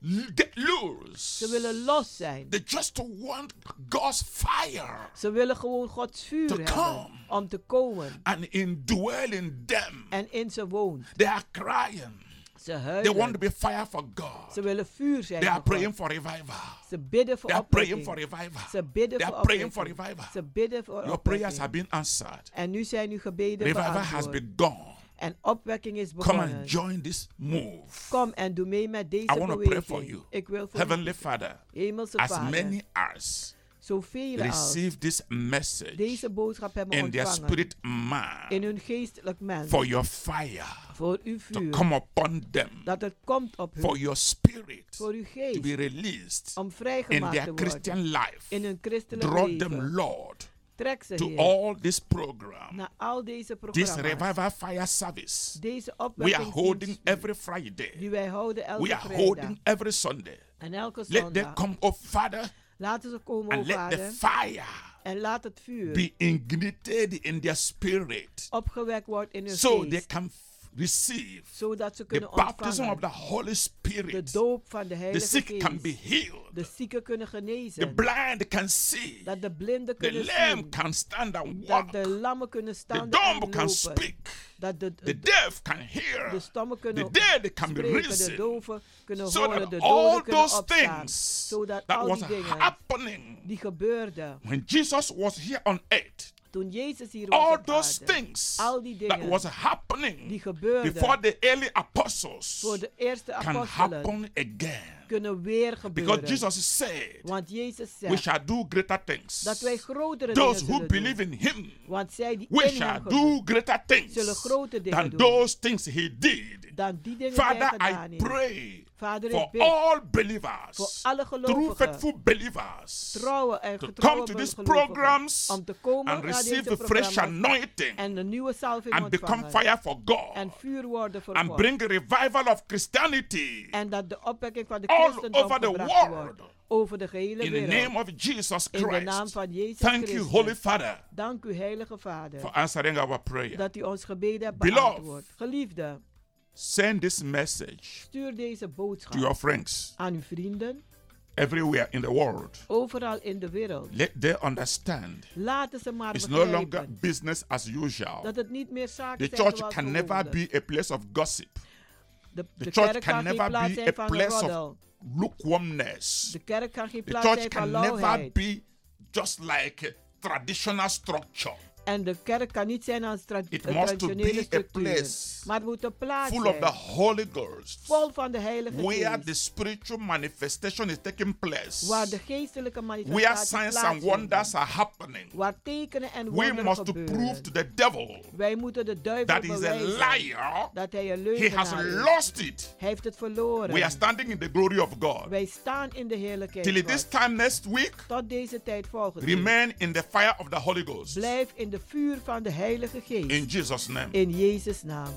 [SPEAKER 7] l- get
[SPEAKER 8] Ze
[SPEAKER 7] loose.
[SPEAKER 8] willen los zijn.
[SPEAKER 7] They just want God's fire
[SPEAKER 8] Ze willen gewoon Gods vuur
[SPEAKER 7] To
[SPEAKER 8] hebben
[SPEAKER 7] come.
[SPEAKER 8] om te komen.
[SPEAKER 7] and indwell in them.
[SPEAKER 8] En in ze woont.
[SPEAKER 7] They are crying.
[SPEAKER 8] Ze
[SPEAKER 7] They want to
[SPEAKER 8] huilen.
[SPEAKER 7] be fire for God.
[SPEAKER 8] Ze willen vuur zijn
[SPEAKER 7] They are
[SPEAKER 8] voor
[SPEAKER 7] praying
[SPEAKER 8] God.
[SPEAKER 7] for revival.
[SPEAKER 8] Ze bidden voor
[SPEAKER 7] They are praying for
[SPEAKER 8] opwekking.
[SPEAKER 7] revival.
[SPEAKER 8] Ze bidden
[SPEAKER 7] They
[SPEAKER 8] voor
[SPEAKER 7] are praying for
[SPEAKER 8] opwekking.
[SPEAKER 7] revival.
[SPEAKER 8] Ze bidden voor
[SPEAKER 7] Your prayers have
[SPEAKER 8] opwekking.
[SPEAKER 7] been answered.
[SPEAKER 8] En nu zijn uw gebeden
[SPEAKER 7] Revival has
[SPEAKER 8] beantwoord.
[SPEAKER 7] begun.
[SPEAKER 8] En opwekking is
[SPEAKER 7] Come and
[SPEAKER 8] begonnen.
[SPEAKER 7] join this move.
[SPEAKER 8] Kom en doe mee met deze
[SPEAKER 7] I want to pray for
[SPEAKER 8] beweging.
[SPEAKER 7] you.
[SPEAKER 8] Ik wil voor
[SPEAKER 7] Heavenly
[SPEAKER 8] u,
[SPEAKER 7] Father,
[SPEAKER 8] Hemelse
[SPEAKER 7] as
[SPEAKER 8] Vader,
[SPEAKER 7] many as
[SPEAKER 8] zoveel als
[SPEAKER 7] receive this message
[SPEAKER 8] deze boodschap hebben
[SPEAKER 7] in their
[SPEAKER 8] ontvangen.
[SPEAKER 7] spirit
[SPEAKER 8] In
[SPEAKER 7] man
[SPEAKER 8] hun geestelijk mens.
[SPEAKER 7] for your fire
[SPEAKER 8] Voor uw
[SPEAKER 7] to
[SPEAKER 8] vuur.
[SPEAKER 7] come upon them,
[SPEAKER 8] Dat het komt op
[SPEAKER 7] for
[SPEAKER 8] hun.
[SPEAKER 7] your spirit
[SPEAKER 8] Voor uw
[SPEAKER 7] to
[SPEAKER 8] geest.
[SPEAKER 7] be released
[SPEAKER 8] om
[SPEAKER 7] in
[SPEAKER 8] vrijgemaakt
[SPEAKER 7] their
[SPEAKER 8] te worden
[SPEAKER 7] Christian life.
[SPEAKER 8] in hun christelijk
[SPEAKER 7] Draw
[SPEAKER 8] leven.
[SPEAKER 7] them, Lord,
[SPEAKER 8] Trek ze
[SPEAKER 7] to
[SPEAKER 8] hier
[SPEAKER 7] all this program,
[SPEAKER 8] naar al deze
[SPEAKER 7] this
[SPEAKER 8] programma's.
[SPEAKER 7] revival fire service
[SPEAKER 8] Deze
[SPEAKER 7] we are holding
[SPEAKER 8] opwekking
[SPEAKER 7] every Friday,
[SPEAKER 8] die wij houden
[SPEAKER 7] we
[SPEAKER 8] elke
[SPEAKER 7] are
[SPEAKER 8] vrijdag
[SPEAKER 7] holding every Sunday.
[SPEAKER 8] en elke
[SPEAKER 7] Let them
[SPEAKER 8] zondag.
[SPEAKER 7] come, oh Father,
[SPEAKER 8] Laten ze komen, o
[SPEAKER 7] and let the
[SPEAKER 8] Vader,
[SPEAKER 7] fire
[SPEAKER 8] en laat het vuur
[SPEAKER 7] be ignited in their spirit
[SPEAKER 8] opgewekt worden in hun
[SPEAKER 7] so they
[SPEAKER 8] geest,
[SPEAKER 7] can f- receive
[SPEAKER 8] zodat ze
[SPEAKER 7] the
[SPEAKER 8] kunnen
[SPEAKER 7] baptism of
[SPEAKER 8] ontvangen
[SPEAKER 7] the Holy
[SPEAKER 8] de
[SPEAKER 7] Spirit.
[SPEAKER 8] doop van de
[SPEAKER 7] The
[SPEAKER 8] Heilige
[SPEAKER 7] sick can be
[SPEAKER 8] Geest.
[SPEAKER 7] healed,
[SPEAKER 8] De zieken kunnen
[SPEAKER 7] the
[SPEAKER 8] genezen,
[SPEAKER 7] blind can see,
[SPEAKER 8] dat de blinden
[SPEAKER 7] the
[SPEAKER 8] kunnen
[SPEAKER 7] lame
[SPEAKER 8] zien,
[SPEAKER 7] can stand and walk,
[SPEAKER 8] dat de
[SPEAKER 7] the
[SPEAKER 8] lammen kunnen staan en
[SPEAKER 7] dumb can
[SPEAKER 8] lopen,
[SPEAKER 7] speak,
[SPEAKER 8] dat de,
[SPEAKER 7] the deaf can hear,
[SPEAKER 8] de stammen
[SPEAKER 7] the
[SPEAKER 8] kunnen
[SPEAKER 7] dead can be
[SPEAKER 8] spreken, de
[SPEAKER 7] risen.
[SPEAKER 8] doven kunnen
[SPEAKER 7] So
[SPEAKER 8] horen,
[SPEAKER 7] that
[SPEAKER 8] de
[SPEAKER 7] all
[SPEAKER 8] doden kunnen
[SPEAKER 7] those
[SPEAKER 8] opstaan.
[SPEAKER 7] things
[SPEAKER 8] Zodat
[SPEAKER 7] that
[SPEAKER 8] al
[SPEAKER 7] was
[SPEAKER 8] die dingen
[SPEAKER 7] happening
[SPEAKER 8] die gebeurden
[SPEAKER 7] when Jesus was here on earth,
[SPEAKER 8] toen Jezus hier was
[SPEAKER 7] all
[SPEAKER 8] op
[SPEAKER 7] those
[SPEAKER 8] aarde,
[SPEAKER 7] things
[SPEAKER 8] al die
[SPEAKER 7] that
[SPEAKER 8] dingen
[SPEAKER 7] was
[SPEAKER 8] die
[SPEAKER 7] happening before
[SPEAKER 8] gebeurden
[SPEAKER 7] the early apostles
[SPEAKER 8] voor de eerste
[SPEAKER 7] can
[SPEAKER 8] apostelen
[SPEAKER 7] happen again.
[SPEAKER 8] kunnen weer
[SPEAKER 7] Because
[SPEAKER 8] gebeuren.
[SPEAKER 7] Jesus said,
[SPEAKER 8] Want Jezus
[SPEAKER 7] We
[SPEAKER 8] zegt
[SPEAKER 7] shall do greater things.
[SPEAKER 8] dat wij grotere dingen
[SPEAKER 7] Those who
[SPEAKER 8] zullen
[SPEAKER 7] believe
[SPEAKER 8] doen.
[SPEAKER 7] in him,
[SPEAKER 8] Want zij die
[SPEAKER 7] we
[SPEAKER 8] in
[SPEAKER 7] shall
[SPEAKER 8] hem geloven,
[SPEAKER 7] do greater things
[SPEAKER 8] zullen grote dingen
[SPEAKER 7] than
[SPEAKER 8] doen.
[SPEAKER 7] those things he did.
[SPEAKER 8] dan die dingen die hij
[SPEAKER 7] Father, I
[SPEAKER 8] gedaan heeft.
[SPEAKER 7] pray
[SPEAKER 8] Vader,
[SPEAKER 7] for
[SPEAKER 8] ik bid
[SPEAKER 7] all
[SPEAKER 8] voor
[SPEAKER 7] believers,
[SPEAKER 8] alle
[SPEAKER 7] true
[SPEAKER 8] gelovigen,
[SPEAKER 7] faithful believers,
[SPEAKER 8] trouwe
[SPEAKER 7] to
[SPEAKER 8] en
[SPEAKER 7] come
[SPEAKER 8] getrouwe
[SPEAKER 7] to these
[SPEAKER 8] gelovigen,
[SPEAKER 7] programs
[SPEAKER 8] om te komen
[SPEAKER 7] and
[SPEAKER 8] naar
[SPEAKER 7] receive
[SPEAKER 8] deze
[SPEAKER 7] the fresh
[SPEAKER 8] programma's
[SPEAKER 7] anointing
[SPEAKER 8] en de nieuwe salving
[SPEAKER 7] and become
[SPEAKER 8] ontvangen.
[SPEAKER 7] fire for
[SPEAKER 8] en
[SPEAKER 7] God
[SPEAKER 8] vuur worden voor
[SPEAKER 7] and
[SPEAKER 8] God.
[SPEAKER 7] bring a revival of Christianity
[SPEAKER 8] en dat de opwekking van de
[SPEAKER 7] all
[SPEAKER 8] christendom
[SPEAKER 7] over the
[SPEAKER 8] gebracht
[SPEAKER 7] world.
[SPEAKER 8] wordt over de gehele
[SPEAKER 7] in the
[SPEAKER 8] wereld.
[SPEAKER 7] name of Jesus
[SPEAKER 8] in de naam
[SPEAKER 7] Christ.
[SPEAKER 8] van Jezus
[SPEAKER 7] Thank you,
[SPEAKER 8] Christus.
[SPEAKER 7] Holy Father,
[SPEAKER 8] Dank u, Heilige Vader,
[SPEAKER 7] for answering our prayer.
[SPEAKER 8] dat u ons gebeden hebt
[SPEAKER 7] Beloved.
[SPEAKER 8] beantwoord. Geliefde,
[SPEAKER 7] Send this message
[SPEAKER 8] stuur deze
[SPEAKER 7] to
[SPEAKER 8] boodschap
[SPEAKER 7] your friends
[SPEAKER 8] aan uw vrienden
[SPEAKER 7] everywhere in the world.
[SPEAKER 8] overal in de wereld.
[SPEAKER 7] Let them understand
[SPEAKER 8] Laten ze maar
[SPEAKER 7] it's no
[SPEAKER 8] begrijpen
[SPEAKER 7] longer business as usual.
[SPEAKER 8] dat het niet meer
[SPEAKER 7] The
[SPEAKER 8] zaken zijn
[SPEAKER 7] church
[SPEAKER 8] zoals
[SPEAKER 7] can never
[SPEAKER 8] gewoonlijk.
[SPEAKER 7] be a place of gossip.
[SPEAKER 8] de,
[SPEAKER 7] The
[SPEAKER 8] de
[SPEAKER 7] church
[SPEAKER 8] kerk
[SPEAKER 7] can
[SPEAKER 8] kan geen
[SPEAKER 7] never
[SPEAKER 8] plaats
[SPEAKER 7] be
[SPEAKER 8] zijn
[SPEAKER 7] a
[SPEAKER 8] van
[SPEAKER 7] place of-
[SPEAKER 8] roddel.
[SPEAKER 7] Lukewarmness.
[SPEAKER 8] De kerk kan geen
[SPEAKER 7] The
[SPEAKER 8] plaats
[SPEAKER 7] church
[SPEAKER 8] zijn van
[SPEAKER 7] can never
[SPEAKER 8] lauwheid.
[SPEAKER 7] be just like a traditional structure
[SPEAKER 8] En de kerk kan niet zijn als tra-
[SPEAKER 7] It
[SPEAKER 8] een
[SPEAKER 7] must to be
[SPEAKER 8] traditionele
[SPEAKER 7] a
[SPEAKER 8] structuur.
[SPEAKER 7] place
[SPEAKER 8] Maar het moet een plaats
[SPEAKER 7] full of
[SPEAKER 8] zijn.
[SPEAKER 7] the Holy Ghost,
[SPEAKER 8] vol van de heilige
[SPEAKER 7] where
[SPEAKER 8] geest.
[SPEAKER 7] the spiritual manifestation is taking place,
[SPEAKER 8] waar de geestelijke
[SPEAKER 7] where
[SPEAKER 8] manifestaties
[SPEAKER 7] signs and
[SPEAKER 8] plaatsvinden,
[SPEAKER 7] wonders are happening.
[SPEAKER 8] Waar tekenen en
[SPEAKER 7] We
[SPEAKER 8] wonderen
[SPEAKER 7] must to prove
[SPEAKER 8] gebeuren.
[SPEAKER 7] to the devil
[SPEAKER 8] Wij moeten de duivel
[SPEAKER 7] that is a
[SPEAKER 8] bewijzen
[SPEAKER 7] liar.
[SPEAKER 8] dat hij een
[SPEAKER 7] He has
[SPEAKER 8] leugenaar is.
[SPEAKER 7] lost it.
[SPEAKER 8] Hij heeft het verloren.
[SPEAKER 7] We are standing in the glory of God.
[SPEAKER 8] Wij staan in de heerlijkheid
[SPEAKER 7] Till
[SPEAKER 8] God.
[SPEAKER 7] this time next week,
[SPEAKER 8] Tot deze tijd volgende week.
[SPEAKER 7] remain in the fire of the Holy Ghost.
[SPEAKER 8] Blijf in de vuur van de heilige geest.
[SPEAKER 7] In Jesus' name.
[SPEAKER 8] in Jezus' naam.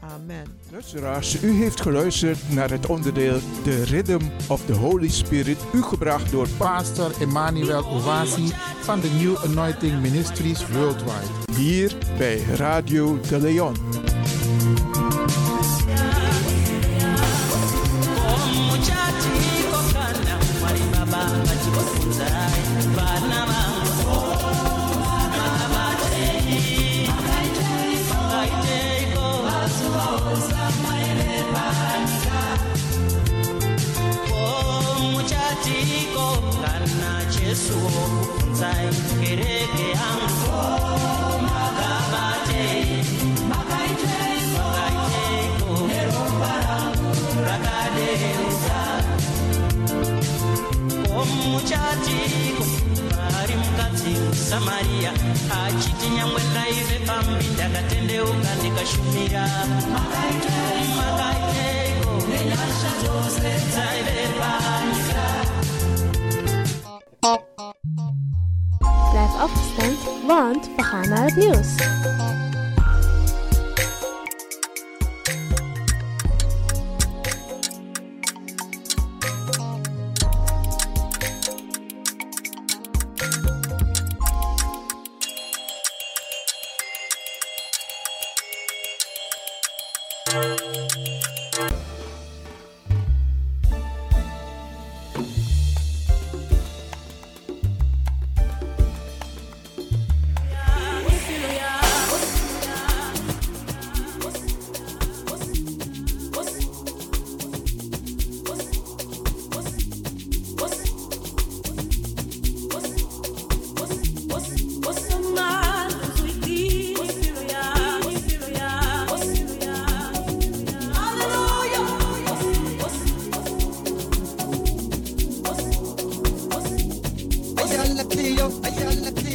[SPEAKER 8] Amen.
[SPEAKER 6] Luisteraars, u heeft geluisterd naar het onderdeel The Rhythm of the Holy Spirit, u gebracht door
[SPEAKER 1] Pastor Emmanuel Owasi van de New Anointing Ministries Worldwide.
[SPEAKER 6] hier bij Radio de Leon.
[SPEAKER 10] ndakatendeuka ndikashumira makaiteiko
[SPEAKER 3] Blijf afgestemd, want we gaan naar het nieuws.
[SPEAKER 8] Hallelujah.